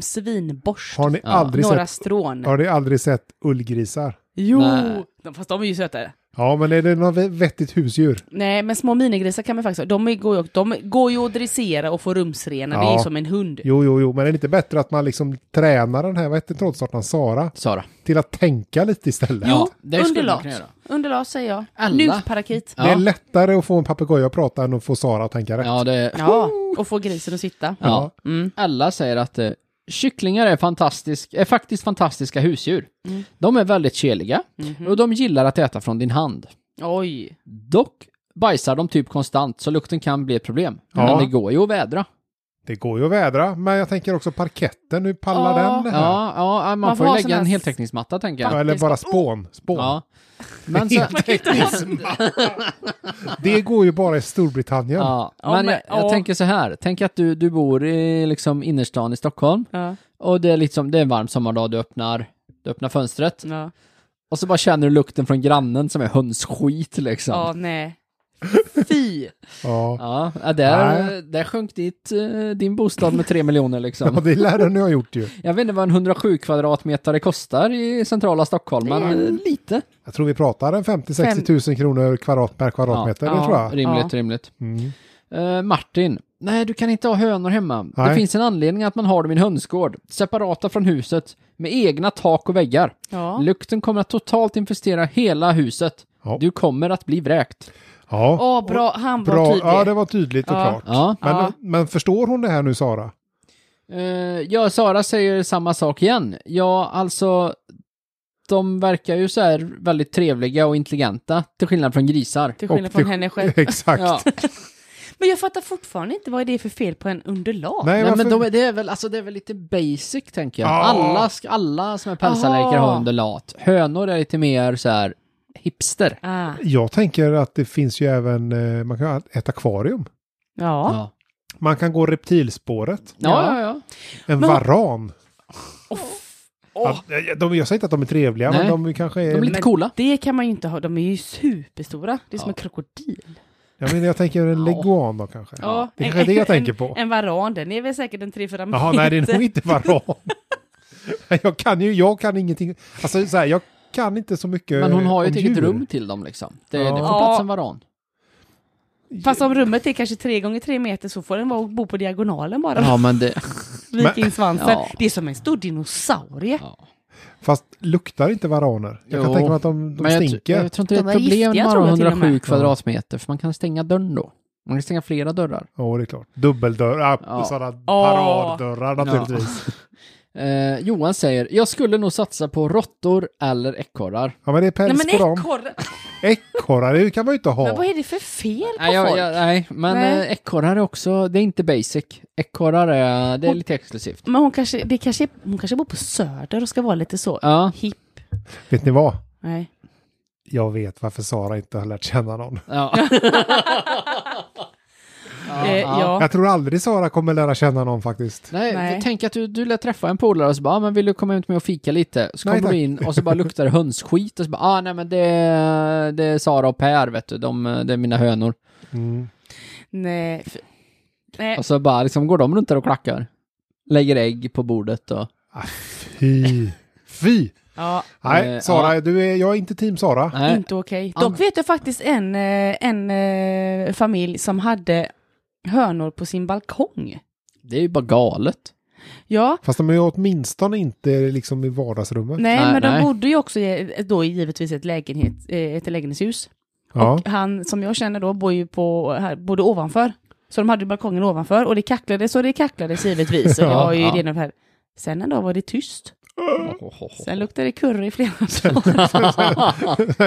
Speaker 3: svinborst.
Speaker 2: Har ni aldrig
Speaker 3: Några
Speaker 2: sett
Speaker 3: strån.
Speaker 2: har ni aldrig sett ullgrisar?
Speaker 3: Jo!
Speaker 1: Nej.
Speaker 3: De, fast de är ju sötare.
Speaker 2: Ja, men är det något ve- vettigt husdjur?
Speaker 3: Nej, men små minigrisar kan man faktiskt ha. De är- går ju, de går ju att dressera och få rumsrena. Det är
Speaker 2: Ja.
Speaker 3: ju som en hund.
Speaker 2: Jo, jo, jo, men är det inte bättre att man liksom tränar den här, vad hette trådstartaren, Sara,
Speaker 1: Sara.
Speaker 2: till att tänka lite istället?
Speaker 3: Jo,
Speaker 1: det skulle man
Speaker 3: underlat.
Speaker 1: kunna göra.
Speaker 3: Underlat säger jag.
Speaker 1: Alla.
Speaker 3: Nusparakit.
Speaker 2: Det är
Speaker 1: Ja.
Speaker 2: lättare att få en papegoja att prata än att få Sara att tänka rätt.
Speaker 1: Ja, det är...
Speaker 3: Ja, och få grisen att sitta.
Speaker 1: Ja.
Speaker 3: Mm.
Speaker 1: Alla säger att eh, kycklingar är, fantastisk, är faktiskt fantastiska husdjur.
Speaker 3: Mm.
Speaker 1: De är väldigt keliga
Speaker 3: Mhm.
Speaker 1: och de gillar att äta från din hand.
Speaker 3: Oj.
Speaker 1: Dock bajsar de typ konstant så lukten kan bli ett problem.
Speaker 2: Ja.
Speaker 1: Men det går ju att vädra.
Speaker 2: Det går ju att vädra, men jag tänker också parketten, hur pallar
Speaker 3: Ja.
Speaker 2: den det här?
Speaker 1: Ja, ja man,
Speaker 3: Man
Speaker 1: får
Speaker 3: får
Speaker 1: ju
Speaker 3: ha
Speaker 1: lägga
Speaker 3: sån
Speaker 1: en
Speaker 3: här-
Speaker 1: heltäckningsmatta tänker jag.
Speaker 2: Ja, eller bara spån. spån. [LAUGHS]
Speaker 1: Ja. Men sen,
Speaker 3: Alltså,
Speaker 2: Det går ju bara i Storbritannien.
Speaker 1: ja,
Speaker 3: Ja,
Speaker 1: men
Speaker 3: men-
Speaker 1: jag, jag
Speaker 3: ja.
Speaker 1: tänker så här, tänk att du, du bor i liksom innerstan i Stockholm
Speaker 3: Ja.
Speaker 1: och det är, liksom, det är en varm sommardag, du öppnar, du öppnar fönstret
Speaker 3: Ja.
Speaker 1: och så bara känner du lukten från grannen som är hönsskit liksom.
Speaker 3: ja, nej. Fy.
Speaker 2: Ja.
Speaker 1: Ja, ja, där,
Speaker 2: Nej.
Speaker 1: där sjönk ditt, eh, din bostad med tre miljoner
Speaker 2: [LAUGHS] Ja,
Speaker 1: liksom.
Speaker 2: det lär den ju ha gjort ju.
Speaker 1: Jag vet inte vad en 107 kvadratmeter kostar i centrala Stockholm, men eh, lite.
Speaker 2: Jag tror vi pratar en 50-60 tusen kronor kvadrat per kvadratmeter, det
Speaker 3: Ja.
Speaker 2: tror jag.
Speaker 1: Rimligt,
Speaker 3: Ja.
Speaker 1: rimligt.
Speaker 2: Mm.
Speaker 1: Eh, Martin, nej du kan inte ha hönor hemma. Det
Speaker 2: Nej.
Speaker 1: finns en anledning att man har dem i en hönsgård, separata från huset, med egna tak och väggar.
Speaker 3: Ja.
Speaker 1: Lukten kommer att totalt infestera hela huset.
Speaker 2: Ja.
Speaker 1: Du kommer att bli vräkt.
Speaker 2: Ja.
Speaker 3: Åh, bra. Han var
Speaker 2: Bra.
Speaker 3: tydlig.
Speaker 2: Ja, det var tydligt och
Speaker 3: Ja.
Speaker 2: klart.
Speaker 1: Ja.
Speaker 2: Men,
Speaker 3: Ja.
Speaker 2: men förstår hon det här nu, Sara?
Speaker 1: Eh, ja, Sara säger samma sak igen. Ja, alltså, de verkar ju så här väldigt trevliga och intelligenta, till skillnad från grisar.
Speaker 3: Till skillnad
Speaker 2: Och
Speaker 3: från
Speaker 2: till-
Speaker 3: henne själv.
Speaker 2: [LAUGHS] Exakt.
Speaker 1: Ja,
Speaker 3: Men jag fattar fortfarande inte vad det är för fel på en underlag.
Speaker 2: Nej,
Speaker 1: nej,
Speaker 2: varför?
Speaker 1: men de, är- det, är väl, alltså, det är väl lite basic, tänker jag.
Speaker 2: Ja.
Speaker 1: Alla, ska- alla som är pälsarläkare
Speaker 3: Aha.
Speaker 1: har underlat. Hönor är lite mer så här hipster.
Speaker 3: Ah.
Speaker 2: Jag tänker att det finns ju även, eh, man kan ha ett akvarium.
Speaker 3: Ja.
Speaker 1: Ja,
Speaker 2: Man kan gå reptilspåret.
Speaker 1: ja, ja. ja.
Speaker 2: En
Speaker 3: Men-
Speaker 2: varan.
Speaker 3: Åh,
Speaker 2: Ja, de, jag säger inte att de är trevliga,
Speaker 1: Nej.
Speaker 2: men de kanske är...
Speaker 1: De är lite
Speaker 3: men-
Speaker 1: coola.
Speaker 3: det kan man ju inte ha. De är ju superstora. Det är som
Speaker 1: Ja.
Speaker 3: en krokodil.
Speaker 2: Jag, menar, jag tänker en
Speaker 1: Ja.
Speaker 2: leguan då kanske.
Speaker 3: Ja.
Speaker 2: Det är kanske är det jag tänker på.
Speaker 3: En varan, den är väl säkert en 3-4 meter.
Speaker 2: Jaha, nej det är nog inte varan. Nej, [LAUGHS] jag kan ju, jag kan ingenting. Alltså så här, jag kan inte så mycket
Speaker 1: Men hon har ju
Speaker 2: om
Speaker 1: ett eget
Speaker 2: djur.
Speaker 1: rum till dem liksom. Det, det
Speaker 2: Ja.
Speaker 1: får
Speaker 3: Ja.
Speaker 1: plats en varan.
Speaker 3: Fast om rummet är kanske 3 gånger 3 meter så får den vara och bo på diagonalen bara. [LAUGHS]
Speaker 1: Ja, men det...
Speaker 3: Vik in svansen.
Speaker 1: Ja.
Speaker 3: Det är som en stor dinosaurie.
Speaker 1: Ja.
Speaker 2: Fast luktar inte varaner? Jag kan
Speaker 1: Jo.
Speaker 2: tänka mig att de, de
Speaker 1: Men jag, tr-
Speaker 2: stinker.
Speaker 1: jag tror inte det är
Speaker 3: De
Speaker 1: ett
Speaker 3: är
Speaker 1: problem
Speaker 3: giftiga,
Speaker 1: med
Speaker 3: tror
Speaker 1: bara
Speaker 3: jag till och
Speaker 1: 107
Speaker 3: med.
Speaker 1: kvadratmeter, för man kan stänga dörren då. Man kan stänga flera dörrar.
Speaker 2: Ja, det är klart. Dubbeldörrar,
Speaker 1: Ja.
Speaker 2: sådana paraddörrar
Speaker 1: Ja.
Speaker 2: naturligtvis. Ja.
Speaker 1: Eh, Johan säger, jag skulle nog satsa på råttor eller ekorrar.
Speaker 2: men det är
Speaker 3: Nej
Speaker 2: päls
Speaker 3: men
Speaker 2: på dem.
Speaker 3: ekorre!
Speaker 2: Ekorrar, det kan man ju inte
Speaker 3: Men vad
Speaker 2: ha.
Speaker 3: är det för fel på
Speaker 1: Nej, jag,
Speaker 3: folk?
Speaker 1: jag, nej men
Speaker 3: Nej.
Speaker 1: eh, ekorrar är också, det är inte basic. Ekorrar är, det är
Speaker 3: Hon-
Speaker 1: lite exklusivt.
Speaker 3: Men hon kanske, det kanske, hon kanske bor på Söder och ska vara lite så
Speaker 1: Ja,
Speaker 3: hipp.
Speaker 2: Vet ni vad?
Speaker 3: Nej.
Speaker 2: Jag vet varför Sara inte har lärt känna någon.
Speaker 3: [LAUGHS]
Speaker 1: [LAUGHS] ja.
Speaker 3: Ja. Eh, ja.
Speaker 2: Jag tror aldrig Sara kommer lära känna någon faktiskt.
Speaker 1: Nej,
Speaker 3: Nej.
Speaker 1: tänk att du, du lär träffa en polare och så bara, ah, men vill du komma ut med och fika lite? Så
Speaker 2: Nej,
Speaker 1: kommer du in och så bara luktar det hönsskit och så bara, ah nej men det, är- det är Sara och Per vet du, de, det är mina hönor.
Speaker 2: Mm.
Speaker 3: Nej. fy- Nej.
Speaker 1: Och så bara liksom går de runt där och klackar. Lägger ägg på bordet och...
Speaker 2: Ah, fy. Fy!
Speaker 3: Ja,
Speaker 2: Nej,
Speaker 1: Eh,
Speaker 2: Sara, du är, jag är inte team Sara.
Speaker 1: Nej.
Speaker 3: inte okej.
Speaker 1: An-
Speaker 3: Dock vet jag faktiskt en, eh, en eh, familj som hade hönor på sin balkong.
Speaker 1: Det är ju bara galet.
Speaker 3: Ja,
Speaker 2: Fast de är ju åtminstone inte liksom i vardagsrummet.
Speaker 3: nej,
Speaker 1: Nej,
Speaker 3: men de
Speaker 1: nej.
Speaker 3: bodde ju också i, eh, då i givetvis ett, lägenhet, eh, ett lägenhetshus.
Speaker 2: Ja.
Speaker 3: Och han som jag känner då bor ju på, här, bodde ovanför. Så de hade ju balkongen ovanför och det kacklades och det kacklades
Speaker 1: [LAUGHS]
Speaker 3: givetvis. Och det
Speaker 2: Ja,
Speaker 3: var ju
Speaker 1: ja.
Speaker 3: det ena här. Sen en dag var det tyst.
Speaker 1: Mm.
Speaker 3: Sen luktade det curry i flera
Speaker 1: [LAUGHS]
Speaker 3: dagar.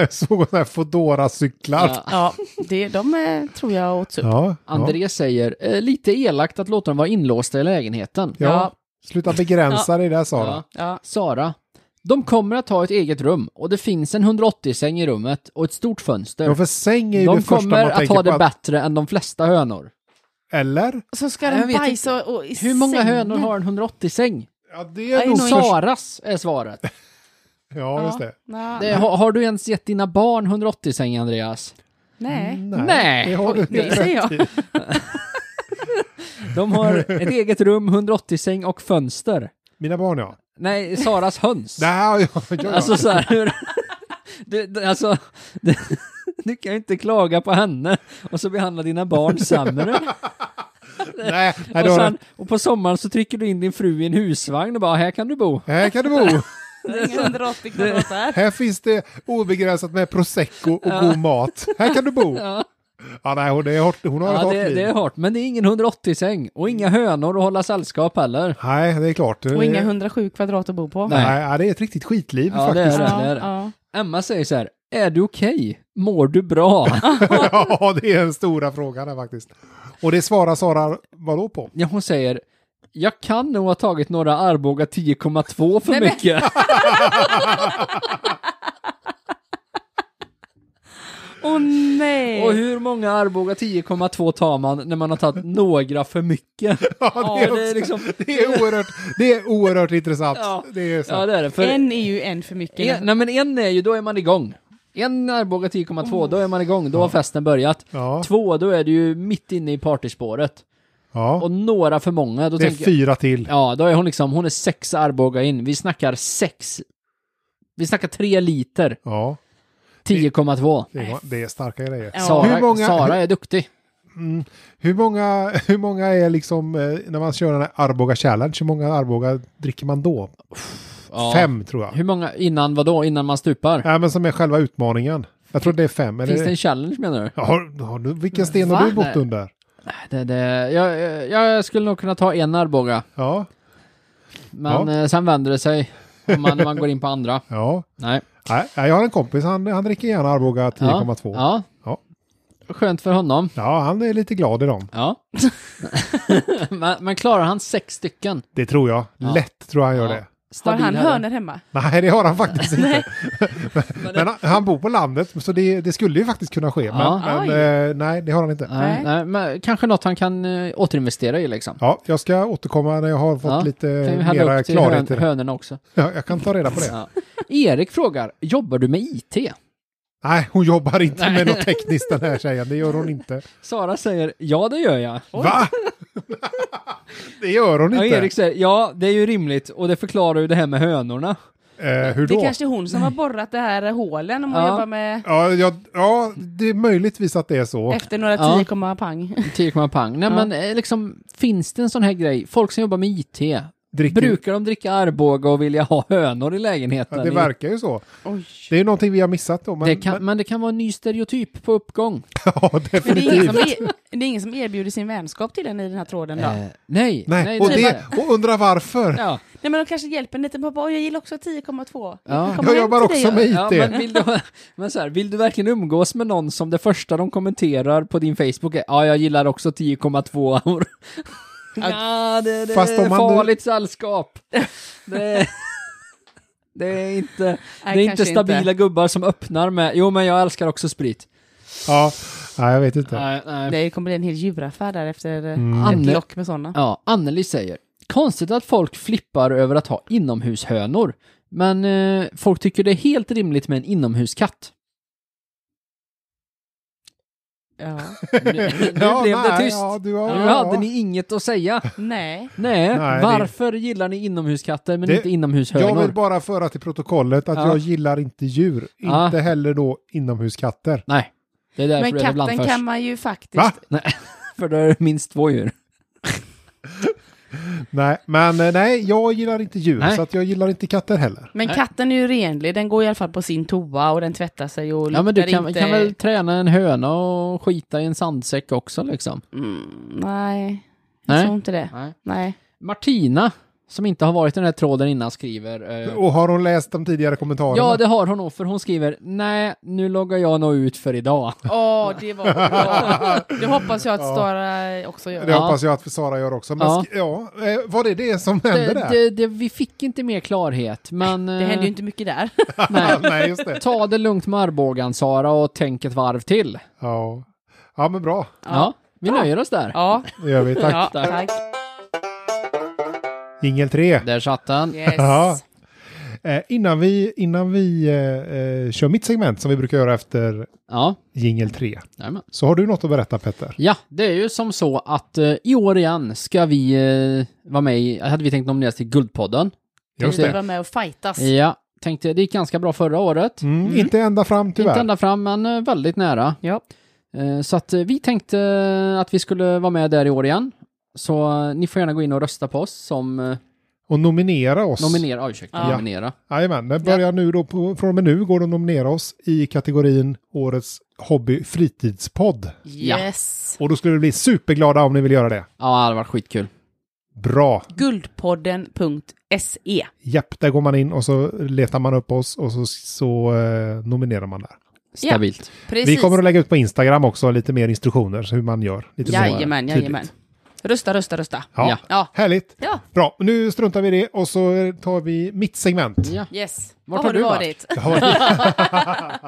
Speaker 2: [LAUGHS] Jag såg sådana här Foodora-cyklar. Ja.
Speaker 1: Ja. typ.
Speaker 3: Ja, det, de eh, tror jag åts upp.
Speaker 2: Ja,
Speaker 1: André säger, eh, lite elakt att låta dem vara inlåsta i lägenheten.
Speaker 2: Ja. Sluta begränsa dig där Sara.
Speaker 1: Ja.
Speaker 3: ja.
Speaker 1: Sara, de kommer att ha ett eget rum och det finns en 180-säng i rummet och ett stort fönster.
Speaker 2: Ja, för säng är ju
Speaker 1: de
Speaker 2: det första man
Speaker 1: kommer att
Speaker 2: tänker
Speaker 1: ha
Speaker 2: på.
Speaker 1: det bättre än de flesta hönor.
Speaker 2: Eller?
Speaker 3: Så ska
Speaker 1: Jag
Speaker 3: de
Speaker 1: vet
Speaker 3: bajsa och, och i
Speaker 1: Hur många
Speaker 3: sängen.
Speaker 1: hönor har en 180-säng?
Speaker 2: Ja, det är
Speaker 3: Aj,
Speaker 2: nog
Speaker 3: nog-
Speaker 2: först...
Speaker 1: Saras är svaret.
Speaker 2: Ja, just det.
Speaker 3: Ja,
Speaker 1: Det, har, har du ens gett dina barn 180-säng, Andreas? Mm.
Speaker 3: nej.
Speaker 1: Nej.
Speaker 2: Det har du
Speaker 3: Nej,
Speaker 2: helt
Speaker 1: [LAUGHS]
Speaker 3: säger
Speaker 2: rätt
Speaker 1: typ
Speaker 3: jag.
Speaker 2: i.
Speaker 1: De har ett eget rum, 180-säng och fönster.
Speaker 2: Mina barn ja.
Speaker 1: Nej, Saras höns.
Speaker 2: Nej, [LAUGHS] ja, ja, ja.
Speaker 1: Alltså så här, hur... [LAUGHS] det, det, alltså, det, [LAUGHS] du kan ju inte klaga på henne och så behandla dina barn sämre.
Speaker 2: Nej, nej
Speaker 1: Och,
Speaker 2: då,
Speaker 1: sen, och på sommaren så trycker du in din fru i en husvagn och bara, här kan du bo.
Speaker 2: här kan du bo.
Speaker 3: Det är 180 kvadrat där.
Speaker 2: Här finns det obegränsat med prosecco och god mat. Här kan du bo. Ja, nej, hon, det är hårt, hon har ett
Speaker 1: Ja,
Speaker 2: hårt
Speaker 1: det,
Speaker 2: liv.
Speaker 1: det är hårt, men det är ingen 180-säng och inga hönor att hålla sällskap heller.
Speaker 2: Nej, det är klart. Det,
Speaker 3: Och inga
Speaker 2: nej.
Speaker 3: 107 kvadrat att bo på.
Speaker 2: Nej, ja, det är ett riktigt skitliv
Speaker 1: Ja, det är
Speaker 2: faktiskt. [LAUGHS]
Speaker 1: det.
Speaker 3: Ja,
Speaker 1: där.
Speaker 3: ja.
Speaker 1: Emma säger så här, är du okej? Mår du
Speaker 3: [LAUGHS]
Speaker 1: bra?
Speaker 2: ja, det är den stora frågan där faktiskt. Och det svarar Sara vadå på? [LAUGHS]
Speaker 1: Ja, hon säger, jag kan nog ha tagit några Arboga 10,2 för
Speaker 3: Nej, men- [LAUGHS]
Speaker 1: mycket.
Speaker 3: Åh nej!
Speaker 1: Och hur många Arboga 10,2 tar man när man har
Speaker 2: [LAUGHS]
Speaker 1: tagit några för mycket?
Speaker 2: Ja,
Speaker 1: Ja, det är liksom...
Speaker 2: [LAUGHS] Det är oerhört, det är oerhört intressant.
Speaker 1: Ja.
Speaker 2: Det är så.
Speaker 1: Ja, det är det. För en...
Speaker 3: En är ju en för mycket.
Speaker 1: nej, men en är ju, då är man igång. En Arboga 10,2, då är man igång, då har festen börjat.
Speaker 2: Oh. Ja.
Speaker 1: Två, då är du ju mitt inne i partyspåret.
Speaker 2: ja.
Speaker 1: Och några för många, då
Speaker 2: Det är
Speaker 1: tänker jag...
Speaker 2: fyra till.
Speaker 1: Ja, då är hon liksom, hon är sex Arboga in. Vi snackar sex... Vi snackar tre liter,
Speaker 2: Ja,
Speaker 1: 10,2.
Speaker 2: det är, det är starka grejer.
Speaker 3: Ja.
Speaker 1: Sara,
Speaker 2: Hur många-
Speaker 1: Sara är duktig.
Speaker 2: Hur, många, hur många är liksom, eh, när man kör den här Arboga Challenge, hur många Arboga dricker man då?
Speaker 1: Ja.
Speaker 2: Fem tror jag.
Speaker 1: Hur många, innan vad då? Innan man stupar?
Speaker 2: Nej, men som är själva utmaningen. Jag tror det är fem. Eller?
Speaker 1: Finns det en challenge menar du?
Speaker 2: har, har du, vilken sten
Speaker 1: Va?
Speaker 2: har du bott
Speaker 1: Nej.
Speaker 2: under?
Speaker 1: Det, det, jag, jag skulle nog kunna ta en Arboga,
Speaker 2: Ja,
Speaker 1: men
Speaker 2: Ja.
Speaker 1: eh, sen vänder det sig om man, man går in på andra.
Speaker 2: ja. [LAUGHS]
Speaker 1: Nej.
Speaker 2: Nej, jag har en kompis, han, han dricker gärna Arboga 10,2. Ja.
Speaker 1: Ja. ja. Skönt för honom.
Speaker 2: han är lite glad i dem.
Speaker 1: [LAUGHS] Ja. men, men klarar han sex stycken?
Speaker 2: Det tror jag.
Speaker 1: Ja.
Speaker 2: Lätt tror jag han gör
Speaker 1: Ja.
Speaker 2: det.
Speaker 3: Har han
Speaker 1: Stabil här.
Speaker 3: hörnor hemma?
Speaker 2: Nej, det har han faktiskt inte.
Speaker 1: [LAUGHS]
Speaker 2: men men han, han bor på landet, så det, det skulle ju faktiskt kunna ske.
Speaker 1: Ja.
Speaker 2: Men,
Speaker 3: Oj.
Speaker 2: men eh, nej, det har han inte.
Speaker 1: Nej, nej,
Speaker 3: Nej.
Speaker 1: men kanske något han kan eh, återinvestera i liksom.
Speaker 2: Ja, jag ska återkomma när jag har fått
Speaker 1: Ja.
Speaker 2: lite
Speaker 1: Kan vi hälla
Speaker 2: Eh, mera
Speaker 1: upp till hön,
Speaker 2: klarhet i det.
Speaker 1: hönorna också.
Speaker 2: Ja, jag kan ta
Speaker 1: [LAUGHS]
Speaker 2: reda på det.
Speaker 1: Ja. Erik frågar, jobbar du med IT?
Speaker 2: Nej, hon jobbar inte
Speaker 1: Nej.
Speaker 2: med något tekniskt den här tjejen. Det gör hon inte.
Speaker 1: Sara säger, ja det gör jag. [LAUGHS]
Speaker 2: Va? det gör hon
Speaker 1: Ja,
Speaker 2: inte.
Speaker 1: Erik säger, ja det är ju rimligt och det förklarar ju det här med hönorna.
Speaker 2: Eh, hur
Speaker 3: Det
Speaker 2: då?
Speaker 3: är kanske är hon som har borrat det här hålen om hon
Speaker 1: Ja.
Speaker 3: jobbar med
Speaker 2: Ja, ja, ja, det är möjligtvis att det är så.
Speaker 1: Eh,
Speaker 3: efter några
Speaker 1: Ja.
Speaker 3: 10 komma pang.
Speaker 1: 10 komma pang. Nej
Speaker 3: Ja.
Speaker 1: men eh, liksom, finns det en sån här grej, folk som jobbar med IT,
Speaker 2: Dricker-
Speaker 1: brukar de dricka Arboga och vilja ha hönor i
Speaker 2: Ja,
Speaker 1: lägenheten?
Speaker 2: det verkar ju så.
Speaker 3: Oj.
Speaker 2: Det är ju någonting vi har missat då. Men,
Speaker 1: Det kan,
Speaker 2: men,
Speaker 1: men det kan vara en ny stereotyp på uppgång.
Speaker 2: [LAUGHS] ja,
Speaker 3: Men det är, ingen som
Speaker 2: definitivt.
Speaker 3: e- det är ingen som erbjuder sin vänskap till den i den här tråden då?
Speaker 1: Eh, nej,
Speaker 2: Nej,
Speaker 1: nej,
Speaker 2: och,
Speaker 1: nej,
Speaker 2: det,
Speaker 1: nej.
Speaker 2: och undra varför.
Speaker 1: Ja,
Speaker 3: Nej men de kanske hjälper en liten pappa, "Oj, jag gillar också 10,2.
Speaker 1: Ja.
Speaker 3: Vi kommer
Speaker 2: Jag
Speaker 3: hem
Speaker 2: jobbar
Speaker 3: till
Speaker 2: också
Speaker 3: dig,
Speaker 2: med
Speaker 3: ja.
Speaker 1: ja,
Speaker 2: IT.
Speaker 1: men, vill du, [LAUGHS] men så här, vill du verkligen umgås med någon som det första de kommenterar på din Facebook är ja, jag gillar också 10,2
Speaker 2: [LAUGHS]
Speaker 1: år. Ja, det, det
Speaker 2: Fast
Speaker 1: är
Speaker 2: om man nu-
Speaker 1: farligt sällskap. Det, [LAUGHS] det är inte...
Speaker 3: Nej,
Speaker 1: det är inte
Speaker 3: kanske
Speaker 1: stabila gubbar som öppnar med, jo men jag älskar också sprit.
Speaker 2: Ja, nej, jag vet inte. Mm.
Speaker 1: Nej, nej.
Speaker 3: Det kommer bli en hel djuraffär där efter eh,
Speaker 1: Anne-
Speaker 3: ett lock med sådana.
Speaker 1: Ja, Anneli säger, konstigt att folk flippar över att ha inomhushönor, men eh, folk tycker det är helt rimligt med en [LAUGHS] inomhuskatt. [LAUGHS]
Speaker 3: Ja.
Speaker 1: Nu, nu
Speaker 2: ja,
Speaker 1: blev det
Speaker 2: nej,
Speaker 1: tyst.
Speaker 2: Ja, du har,
Speaker 1: Nu
Speaker 2: ja,
Speaker 1: hade
Speaker 2: ja.
Speaker 1: ni inget att säga.
Speaker 3: Nej.
Speaker 1: Nej,
Speaker 2: det-
Speaker 1: varför gillar ni inomhuskatter men
Speaker 2: Det-
Speaker 1: inte
Speaker 2: Jag
Speaker 1: inomhushönor?
Speaker 2: vill bara föra till protokollet att
Speaker 1: Ja.
Speaker 2: jag gillar inte djur.
Speaker 1: Ja.
Speaker 2: Inte heller då inomhuskatter.
Speaker 1: Nej, det är därför
Speaker 3: Men
Speaker 1: det är bland
Speaker 3: katten
Speaker 1: först.
Speaker 3: kan man ju faktiskt...
Speaker 2: Va?
Speaker 1: För då är det minst två djur.
Speaker 2: Nej, men eh, nej, jag gillar inte djur.
Speaker 1: Nej.
Speaker 2: Så att jag gillar inte katter heller.
Speaker 3: Men
Speaker 1: Nej.
Speaker 3: katten är ju renlig, den går i alla fall på sin toa och den tvättar sig och
Speaker 1: Ja men du
Speaker 3: luktar
Speaker 1: kan,
Speaker 3: inte...
Speaker 1: kan väl träna en höna och skita i en sandsäck också liksom?
Speaker 3: Mm, nej, jag
Speaker 1: Nej.
Speaker 3: tror inte det.
Speaker 1: Nej.
Speaker 3: Nej.
Speaker 1: Martina, som inte har varit i den här tråden innan, skriver... Eh,
Speaker 2: Och har hon läst de tidigare kommentarerna?
Speaker 1: ja, det har hon nog, för hon skriver Nej, nu loggar jag nog ut för idag.
Speaker 3: Åh, det var bra. Det hoppas jag att Stara också gör.
Speaker 2: Det
Speaker 1: Ja.
Speaker 2: hoppas jag att Sara gör också. Men
Speaker 1: Ja.
Speaker 2: ja. Ja, eh, var det det som hände
Speaker 1: det,
Speaker 2: där?
Speaker 1: det, det, vi fick inte mer klarhet, men...
Speaker 3: Det
Speaker 1: eh,
Speaker 3: händer ju inte mycket där.
Speaker 1: nej.
Speaker 2: [LAUGHS] Nej, just det.
Speaker 1: Ta det lugnt med armbågan, Sara, och tänk ett varv till.
Speaker 2: Ja. ja, men bra.
Speaker 1: Ja, vi nöjer oss där.
Speaker 3: Ja,
Speaker 2: Det gör vi.
Speaker 3: [LAUGHS]
Speaker 2: Tack.
Speaker 3: ja
Speaker 1: Tack.
Speaker 3: tack.
Speaker 2: Jingel 3.
Speaker 1: Där satt den.
Speaker 3: Yes.
Speaker 2: Ja. Eh, innan vi, innan vi eh, eh, kör mitt segment som vi brukar göra efter
Speaker 1: Ja,
Speaker 2: jingel 3
Speaker 1: jajamän.
Speaker 2: så har du något att berätta Petter.
Speaker 1: Ja, det är ju som så att eh, i år igen ska vi eh, vara med i, hade vi tänkt nomineras till Guldpodden.
Speaker 3: Vi
Speaker 2: Just det.
Speaker 3: var med och fightas.
Speaker 1: Ja, tänkte, det gick ganska bra förra året.
Speaker 2: Mm, Inte ända fram tyvärr.
Speaker 1: Inte ända fram, men eh, väldigt nära.
Speaker 3: Ja.
Speaker 1: Eh, Så att eh, vi tänkte eh, att vi skulle vara med där i år igen. Så eh, ni får gärna gå in och rösta på oss som eh,
Speaker 2: Och nominera oss.
Speaker 1: nominera, oh, ursäkta,
Speaker 3: Ja.
Speaker 1: nominera.
Speaker 2: Jajamän, det börjar nu då, på, från och med nu går det att nominera oss i kategorin Årets Hobby Fritidspodd.
Speaker 1: Ja.
Speaker 3: Yes.
Speaker 2: Och då skulle vi bli superglada om ni vill göra det.
Speaker 1: Ja, det hade varit skitkul.
Speaker 2: Bra!
Speaker 3: Guldpodden.se.
Speaker 2: Japp, där går man in och så letar man upp oss och så, så eh, nominerar man där.
Speaker 3: Ja,
Speaker 1: Stabilt.
Speaker 3: Precis.
Speaker 2: Vi kommer att lägga ut på Instagram också lite mer instruktioner så hur man gör. Lite mer
Speaker 3: Jajamän,
Speaker 2: tydligt.
Speaker 3: jajamän. Rösta, rösta, rösta.
Speaker 2: Ja.
Speaker 1: Ja.
Speaker 3: Ja.
Speaker 2: Härligt!
Speaker 3: Ja.
Speaker 2: Bra, nu struntar vi i det och så tar vi mitt segment.
Speaker 1: Ja.
Speaker 3: Yes.
Speaker 1: Vart har
Speaker 3: Vad
Speaker 1: du varit?
Speaker 2: Jag
Speaker 3: varit?
Speaker 2: har varit,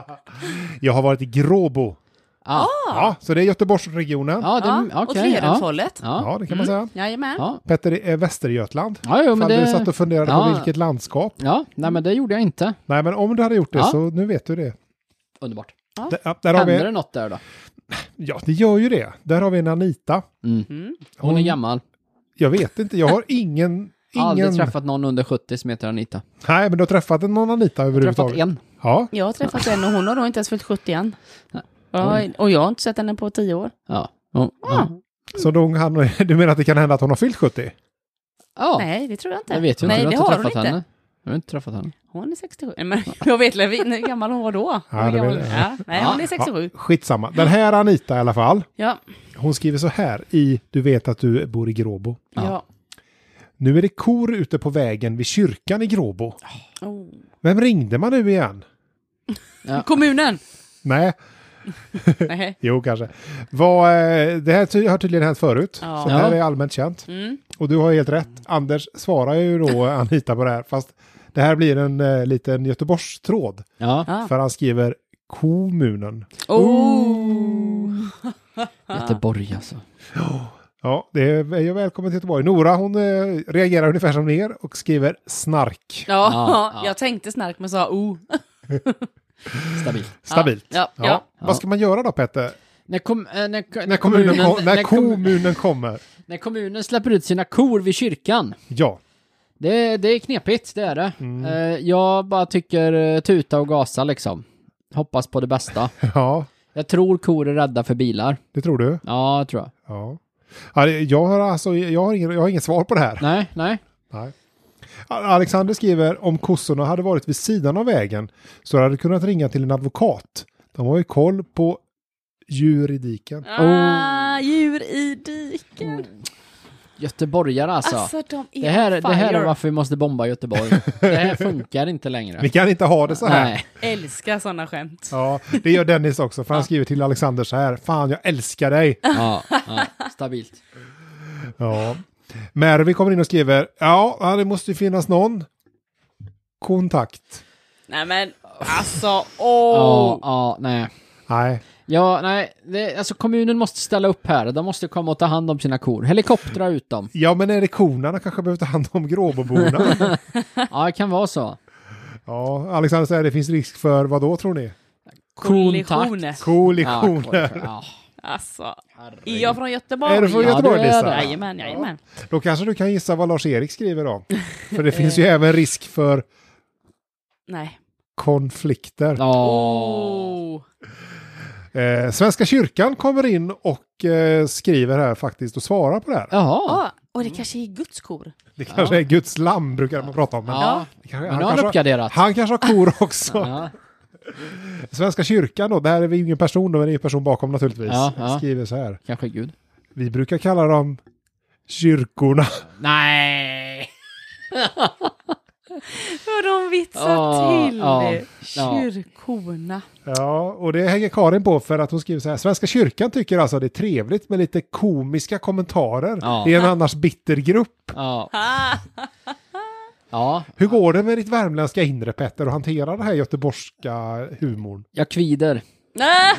Speaker 2: jag har varit i Gråbo.
Speaker 1: Ah.
Speaker 2: Ja, så det är Göteborgsregionen.
Speaker 1: Ja,
Speaker 2: Ja,
Speaker 1: det,
Speaker 3: Ja,
Speaker 1: ja,
Speaker 3: åt
Speaker 1: okej, ja.
Speaker 3: Lerumshållet.
Speaker 1: Ja.
Speaker 2: det kan man säga.
Speaker 3: Jajamän.
Speaker 1: Ja.
Speaker 2: Petter, det är Västergötland.
Speaker 1: Ja, jo, men
Speaker 2: Ifall
Speaker 1: det...
Speaker 2: du satt och funderade
Speaker 1: Ja.
Speaker 2: på vilket landskap.
Speaker 1: Ja, nej men det gjorde jag inte.
Speaker 2: Nej, men om du hade gjort det
Speaker 1: Ja.
Speaker 2: så nu vet du det.
Speaker 1: Underbart.
Speaker 2: Där, ja, där har
Speaker 1: Händer det
Speaker 2: vi,
Speaker 1: något där då?
Speaker 2: ja, det gör ju det. Där har vi en Anita.
Speaker 3: Mm.
Speaker 1: Hon är gammal.
Speaker 2: Jag vet inte, jag har ingen...
Speaker 1: Aldrig
Speaker 2: ingen...
Speaker 1: träffat någon under 70 som heter Anita.
Speaker 2: Nej, men du har träffat någon Anita
Speaker 1: Träffat
Speaker 2: överhuvudtaget.
Speaker 1: en.
Speaker 2: Ja,
Speaker 3: Jag har träffat henne och hon har nog inte ens fyllt 70 än.
Speaker 1: Nej.
Speaker 3: Ja, och jag har inte sett henne på 10 år.
Speaker 1: Ja. Ja.
Speaker 3: Ja.
Speaker 1: ja.
Speaker 2: så då, han, [LAUGHS] du menar att det kan hända att hon har fyllt 70?
Speaker 1: ja.
Speaker 3: Nej, det tror jag inte.
Speaker 1: Jag vet ju inte.
Speaker 3: Nej,
Speaker 1: du
Speaker 3: det
Speaker 1: har
Speaker 3: har
Speaker 1: inte
Speaker 3: hon
Speaker 1: träffat
Speaker 3: inte.
Speaker 1: henne. Jag har inte träffat henne.
Speaker 3: Hon är 67. Nej, [LAUGHS] Men jag vet väl hur gammal hon var då.
Speaker 2: Ja, det
Speaker 3: Hur gammal-
Speaker 2: vet jag.
Speaker 3: ja, nej, hon är 67.
Speaker 2: Skitsamma. Den här Anita i alla fall,
Speaker 3: Ja.
Speaker 2: hon skriver så här i Du vet att du bor i Gråbo.
Speaker 3: Ja.
Speaker 2: Nu är det kor ute på vägen vid kyrkan i Gråbo.
Speaker 3: Oh.
Speaker 2: Vem ringde man nu igen? [LAUGHS]
Speaker 3: Kommunen!
Speaker 2: Nej,
Speaker 3: Nej.
Speaker 2: jo kanske. Vad, eh, det här ty- har tydligen hänt förut,
Speaker 3: Ja.
Speaker 2: så det här
Speaker 1: Ja.
Speaker 2: är allmänt känt.
Speaker 3: Mm.
Speaker 2: Och du har helt rätt. Anders svarar ju
Speaker 3: [LAUGHS]
Speaker 2: då Anita på det här, fast det här blir en eh, liten Göteborgstråd.
Speaker 1: Ja.
Speaker 3: Ja.
Speaker 2: För han skriver kommunen.
Speaker 3: Oh.
Speaker 1: [LAUGHS] Göteborg alltså.
Speaker 2: Ja, det är är ju välkommen till Göteborg. Nora hon eh, reagerar ungefär som er och skriver snark.
Speaker 3: [LAUGHS] Ja,
Speaker 1: Ja, ja.
Speaker 3: jag tänkte snark men sa oh.
Speaker 1: Stabilt.
Speaker 2: Stabilt.
Speaker 3: Ja, ja, ja.
Speaker 2: Vad ska man göra då Petter?
Speaker 1: När, kom, eh, när, när,
Speaker 2: När kommunen,
Speaker 1: kommunen,
Speaker 2: kom, när
Speaker 1: när, kom,
Speaker 2: kommunen kommer.
Speaker 1: när kommunen släpper ut sina kor vid kyrkan.
Speaker 2: Ja,
Speaker 1: Det, det är knepigt, det är det. Eh, Jag bara tycker eh, tuta och gasa liksom. Hoppas på det bästa.
Speaker 2: ja,
Speaker 1: Jag tror kor är rädda för bilar.
Speaker 2: det tror du.
Speaker 1: Ja, jag tror jag.
Speaker 2: Ja. Ja, det- Jag har, alltså, jag har, ingen, jag har ingen svar på det här.
Speaker 1: Nej, nej.
Speaker 2: Nej. Alexander skriver om kossorna hade varit vid sidan av vägen så hade du kunnat ringa till en advokat. De har ju koll på juridiken.
Speaker 3: Ah, djur i diken.
Speaker 1: Göteborgare alltså.
Speaker 3: Alltså de är
Speaker 1: Oh, det, här,
Speaker 3: on
Speaker 1: det
Speaker 3: fire.
Speaker 1: här är varför vi måste bomba Göteborg. det här funkar inte längre.
Speaker 2: Vi [LAUGHS] kan inte ha det så här.
Speaker 1: Nej.
Speaker 3: Älskar sådana skämt.
Speaker 2: Ja, det gör Dennis också, för han skriver till Alexander så här. Fan, jag älskar dig!
Speaker 1: Ja, ja,
Speaker 3: [LAUGHS]
Speaker 1: stabilt.
Speaker 2: Ja. Mervi kommer in och skriver, ja, ja, det måste ju finnas någon kontakt.
Speaker 3: Nej men alltså
Speaker 1: Ja,
Speaker 3: åh.
Speaker 1: ja, nej.
Speaker 2: Nej,
Speaker 1: Ja, nej, det, alltså kommunen måste ställa upp här. De måste komma och ta hand om sina kor. Helikoptra ut dem.
Speaker 2: ja men är det korna de kanske behöver ta hand
Speaker 1: [LAUGHS]
Speaker 2: om gråboborna?
Speaker 1: Ja, det kan vara så.
Speaker 2: ja, Alexander säger, det finns risk för, vad då tror ni?
Speaker 1: Kontakt.
Speaker 3: Kollisioner.
Speaker 1: Ja,
Speaker 2: Kollisioner.
Speaker 1: kollisioner. Ja,
Speaker 3: Alltså, är
Speaker 1: herregud.
Speaker 3: jag från
Speaker 2: [LAUGHS]
Speaker 3: Göteborg?
Speaker 2: Är du från
Speaker 1: Ja,
Speaker 2: Göteborg,
Speaker 1: det är
Speaker 2: Lisa?
Speaker 1: det.
Speaker 3: Jajamän, jajamän.
Speaker 2: Då kanske du kan gissa vad Lars-Erik skriver då. För
Speaker 1: [LAUGHS]
Speaker 2: det finns ju även risk för
Speaker 3: Nej.
Speaker 2: konflikter.
Speaker 1: Ja.
Speaker 3: Oh.
Speaker 2: Eh, Svenska kyrkan kommer in och eh, skriver här faktiskt och svarar på det här.
Speaker 1: Jaha.
Speaker 3: Ah, och det kanske är Guds kor.
Speaker 2: Det kanske är Guds lamm brukar man prata om. Men
Speaker 1: Ja.
Speaker 2: det kanske,
Speaker 1: Men
Speaker 2: han,
Speaker 1: nu har han
Speaker 2: kanske, [LAUGHS]
Speaker 1: uppgraderat.
Speaker 2: han kanske har kor också.
Speaker 1: Ja.
Speaker 2: Svenska kyrkan då, det här är vi ingen person då, men det är ju person bakom naturligtvis.
Speaker 1: Ja, ja.
Speaker 2: Skriver så här.
Speaker 1: Kanske Gud.
Speaker 2: Vi brukar kalla dem kyrkorna.
Speaker 1: Nej!
Speaker 3: Hur de vitsar
Speaker 1: Ja,
Speaker 3: till
Speaker 1: ja,
Speaker 3: det.
Speaker 1: ja.
Speaker 3: Kyrkorna.
Speaker 2: Ja, [LAUGHS] och det hänger Karin på för att hon skriver så här. Svenska kyrkan tycker alltså att det är trevligt med lite komiska kommentarer.
Speaker 1: Ja.
Speaker 2: Det är en annars bitter grupp.
Speaker 1: Ja.
Speaker 3: Ah.
Speaker 1: ja,
Speaker 2: Hur går det med ditt värmländska inre Petter och hantera den här göteborgska humorn? [LAUGHS]
Speaker 1: jag kvider.
Speaker 3: Nej.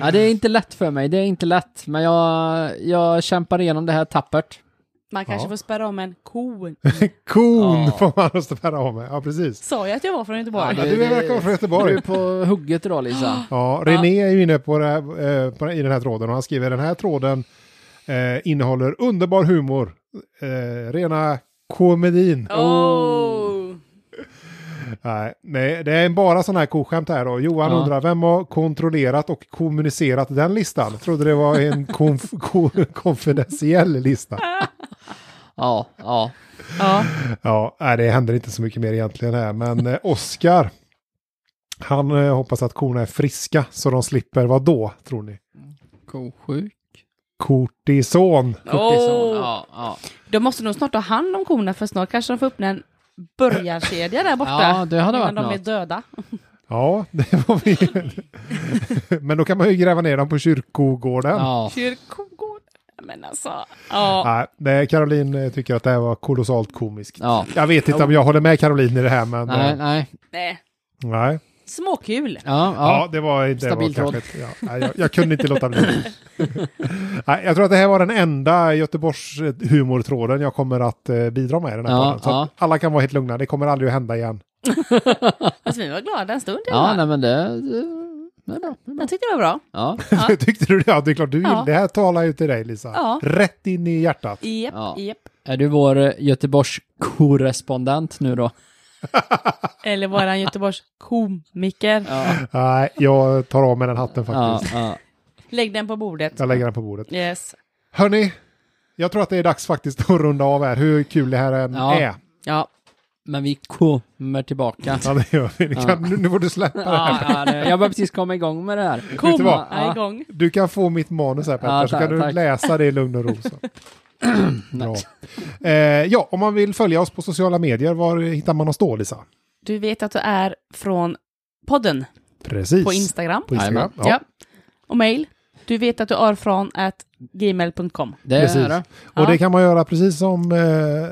Speaker 1: Ja, det är inte lätt för mig, det är inte lätt. Men jag, jag kämpar igenom det här tappert.
Speaker 3: Man kanske får spärra om en [LAUGHS] kon.
Speaker 2: Kon
Speaker 1: Ja.
Speaker 2: får man spärra av med. Ja, precis.
Speaker 3: Sa jag att jag var från Göteborg?
Speaker 2: Ja, du verkar vara från
Speaker 1: Du är
Speaker 2: Göteborg.
Speaker 1: på hugget idag Lisa.
Speaker 2: Ja, René är ju inne på det här, eh, på, i den här tråden och han skriver den här tråden eh, innehåller underbar humor. Eh, rena komedin.
Speaker 3: Oh.
Speaker 2: Nej, nej, det är bara sådana här koskämt här då. Johan
Speaker 1: Ja.
Speaker 2: undrar, vem har kontrollerat och kommunicerat den listan? Trodde det var en konf- [LAUGHS] ko- konfidentiell lista.
Speaker 1: Ja, ja.
Speaker 3: Ja.
Speaker 2: Ja, nej, det händer inte så mycket mer egentligen här, men eh, Oskar. Han eh, hoppas att korna är friska så de slipper vad då, tror ni?
Speaker 1: Kosjuk.
Speaker 2: Kortison.
Speaker 1: Kortison.
Speaker 3: Åh.
Speaker 1: Ja, ja.
Speaker 3: De måste nog snart ta hand om korna för snart kanske de får upp en börjarkedja där borta.
Speaker 1: ja, det hade varit
Speaker 3: innan de är
Speaker 1: något.
Speaker 3: döda.
Speaker 2: Ja, det var vi. men då kan man ju gräva ner dem på kyrkogården.
Speaker 1: Ja.
Speaker 3: Kyrkogård. Men alltså. Ja.
Speaker 2: Nej, nej, Caroline eh, tycker att det här var kolossalt komiskt.
Speaker 1: ja.
Speaker 2: Jag vet inte om jag håller med Caroline i det här, men...
Speaker 1: Nej,
Speaker 2: eh,
Speaker 1: nej.
Speaker 3: Nej.
Speaker 2: nej.
Speaker 3: Småkul.
Speaker 1: Ja,
Speaker 2: Ja,
Speaker 1: ja.
Speaker 2: det var inte... Det var
Speaker 1: Stabil tråd.
Speaker 2: kanske, ett- ja, nej, jag, jag kunde inte
Speaker 1: [LAUGHS]
Speaker 2: låta bli. nej, jag tror att det här var den enda Göteborgs eh, humortråden jag kommer att eh, bidra med i den här
Speaker 1: Ja,
Speaker 2: podden. Så
Speaker 1: ja.
Speaker 2: att alla kan vara helt lugna, det kommer aldrig att hända igen.
Speaker 3: Alltså, vi var glada en stund. i alla
Speaker 1: Ja,
Speaker 3: fall.
Speaker 1: nej men det... det- Det är bra. Det är bra.
Speaker 3: Jag tyckte det var bra.
Speaker 1: Ja.
Speaker 3: Ja.
Speaker 2: [LAUGHS] Tyckte du det? Ja, det är klart du
Speaker 3: Ja.
Speaker 2: ja. Det här talar ju till dig, Lisa.
Speaker 3: Ja.
Speaker 2: Rätt in i hjärtat.
Speaker 3: Japp,
Speaker 1: Ja.
Speaker 3: japp.
Speaker 1: Är du vår eh, Göteborgs-korrespondent nu då?
Speaker 3: Eller våran Göteborgs komiker.
Speaker 1: Ja,
Speaker 2: Nej, jag tar av mig den hatten
Speaker 1: ja,
Speaker 2: faktiskt.
Speaker 1: ja.
Speaker 3: Lägg den på bordet.
Speaker 2: Jag lägger den på bordet.
Speaker 3: Yes.
Speaker 2: Hörni, jag tror att det är dags faktiskt att runda av här, hur kul det här än
Speaker 1: Ja.
Speaker 2: är.
Speaker 3: Ja.
Speaker 1: Men vi kommer tillbaka.
Speaker 2: Ja, det gör vi. Det kan, nu, nu får du släppa det här.
Speaker 1: Ja, ja, det- jag börjar precis komma igång med det här.
Speaker 3: Kom
Speaker 2: du vad?
Speaker 3: är igång.
Speaker 2: Du kan få mitt manus här Petter,
Speaker 1: Ja,
Speaker 2: så
Speaker 1: ta-
Speaker 2: kan du
Speaker 1: tack.
Speaker 2: läsa det i lugn och ro.
Speaker 1: [CLEARS THROAT]
Speaker 2: Så. Bra. Eh, ja, om man vill följa oss på sociala medier, var hittar man oss då, Lisa?
Speaker 3: Du vet att du är från podden
Speaker 2: Precis.
Speaker 3: på Instagram.
Speaker 2: På Instagram.
Speaker 1: Jajamän.
Speaker 2: Ja.
Speaker 3: Ja. Och mail. Du vet att du är från at gmail.com.
Speaker 1: Det
Speaker 2: Precis.
Speaker 1: är det.
Speaker 2: Och
Speaker 3: Ja.
Speaker 2: det kan man göra precis som eh,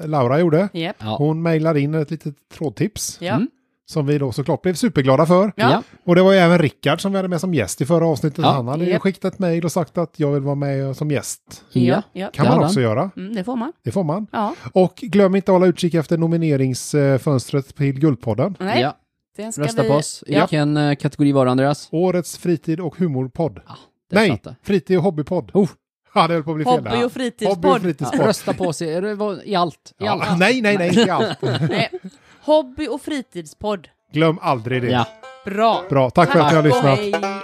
Speaker 2: Laura gjorde.
Speaker 3: Japp.
Speaker 1: Ja.
Speaker 2: Hon mejlar in ett litet trådtips
Speaker 3: Ja.
Speaker 1: Mm.
Speaker 2: som vi då såklart blev superglada för.
Speaker 3: Ja.
Speaker 1: Ja.
Speaker 2: Och det var ju även Rickard som vi hade med som gäst i förra avsnittet.
Speaker 1: Ja.
Speaker 2: Han hade ju
Speaker 3: Japp.
Speaker 2: skickat ett mejl och sagt att jag vill vara med som gäst.
Speaker 1: Ja.
Speaker 3: ja.
Speaker 2: Kan
Speaker 1: Det
Speaker 2: man
Speaker 1: hade
Speaker 2: också göra.
Speaker 3: Mm, det får man.
Speaker 2: Det får man.
Speaker 3: Ja.
Speaker 2: Och glöm inte att hålla utkik efter nomineringsfönstret till Guldpodden.
Speaker 3: Nej.
Speaker 1: ja.
Speaker 3: Den ska
Speaker 1: Rösta
Speaker 3: vi...
Speaker 1: på oss. I
Speaker 3: Ja.
Speaker 1: vilken eh, kategori var det, Andreas?
Speaker 2: Årets fritid och humorpodd.
Speaker 1: Där
Speaker 2: Nej,
Speaker 1: satt det.
Speaker 2: fritid och hobbypodd.
Speaker 1: Oh.
Speaker 2: Ja, det höll på att bli fel.
Speaker 3: Hobby
Speaker 2: där.
Speaker 3: och
Speaker 2: Hobby och
Speaker 3: fritidspodd.
Speaker 1: Ja,
Speaker 2: fritidspodd.
Speaker 1: rösta på sig, Är det vad- i allt. I
Speaker 2: Ja,
Speaker 1: allt.
Speaker 2: nej, nej, nej, inte allt.
Speaker 3: Nej. Hobby och fritidspodd.
Speaker 2: Glöm aldrig det.
Speaker 1: Ja.
Speaker 3: Bra.
Speaker 2: Bra, tack för att ni har lyssnat.
Speaker 3: och hej.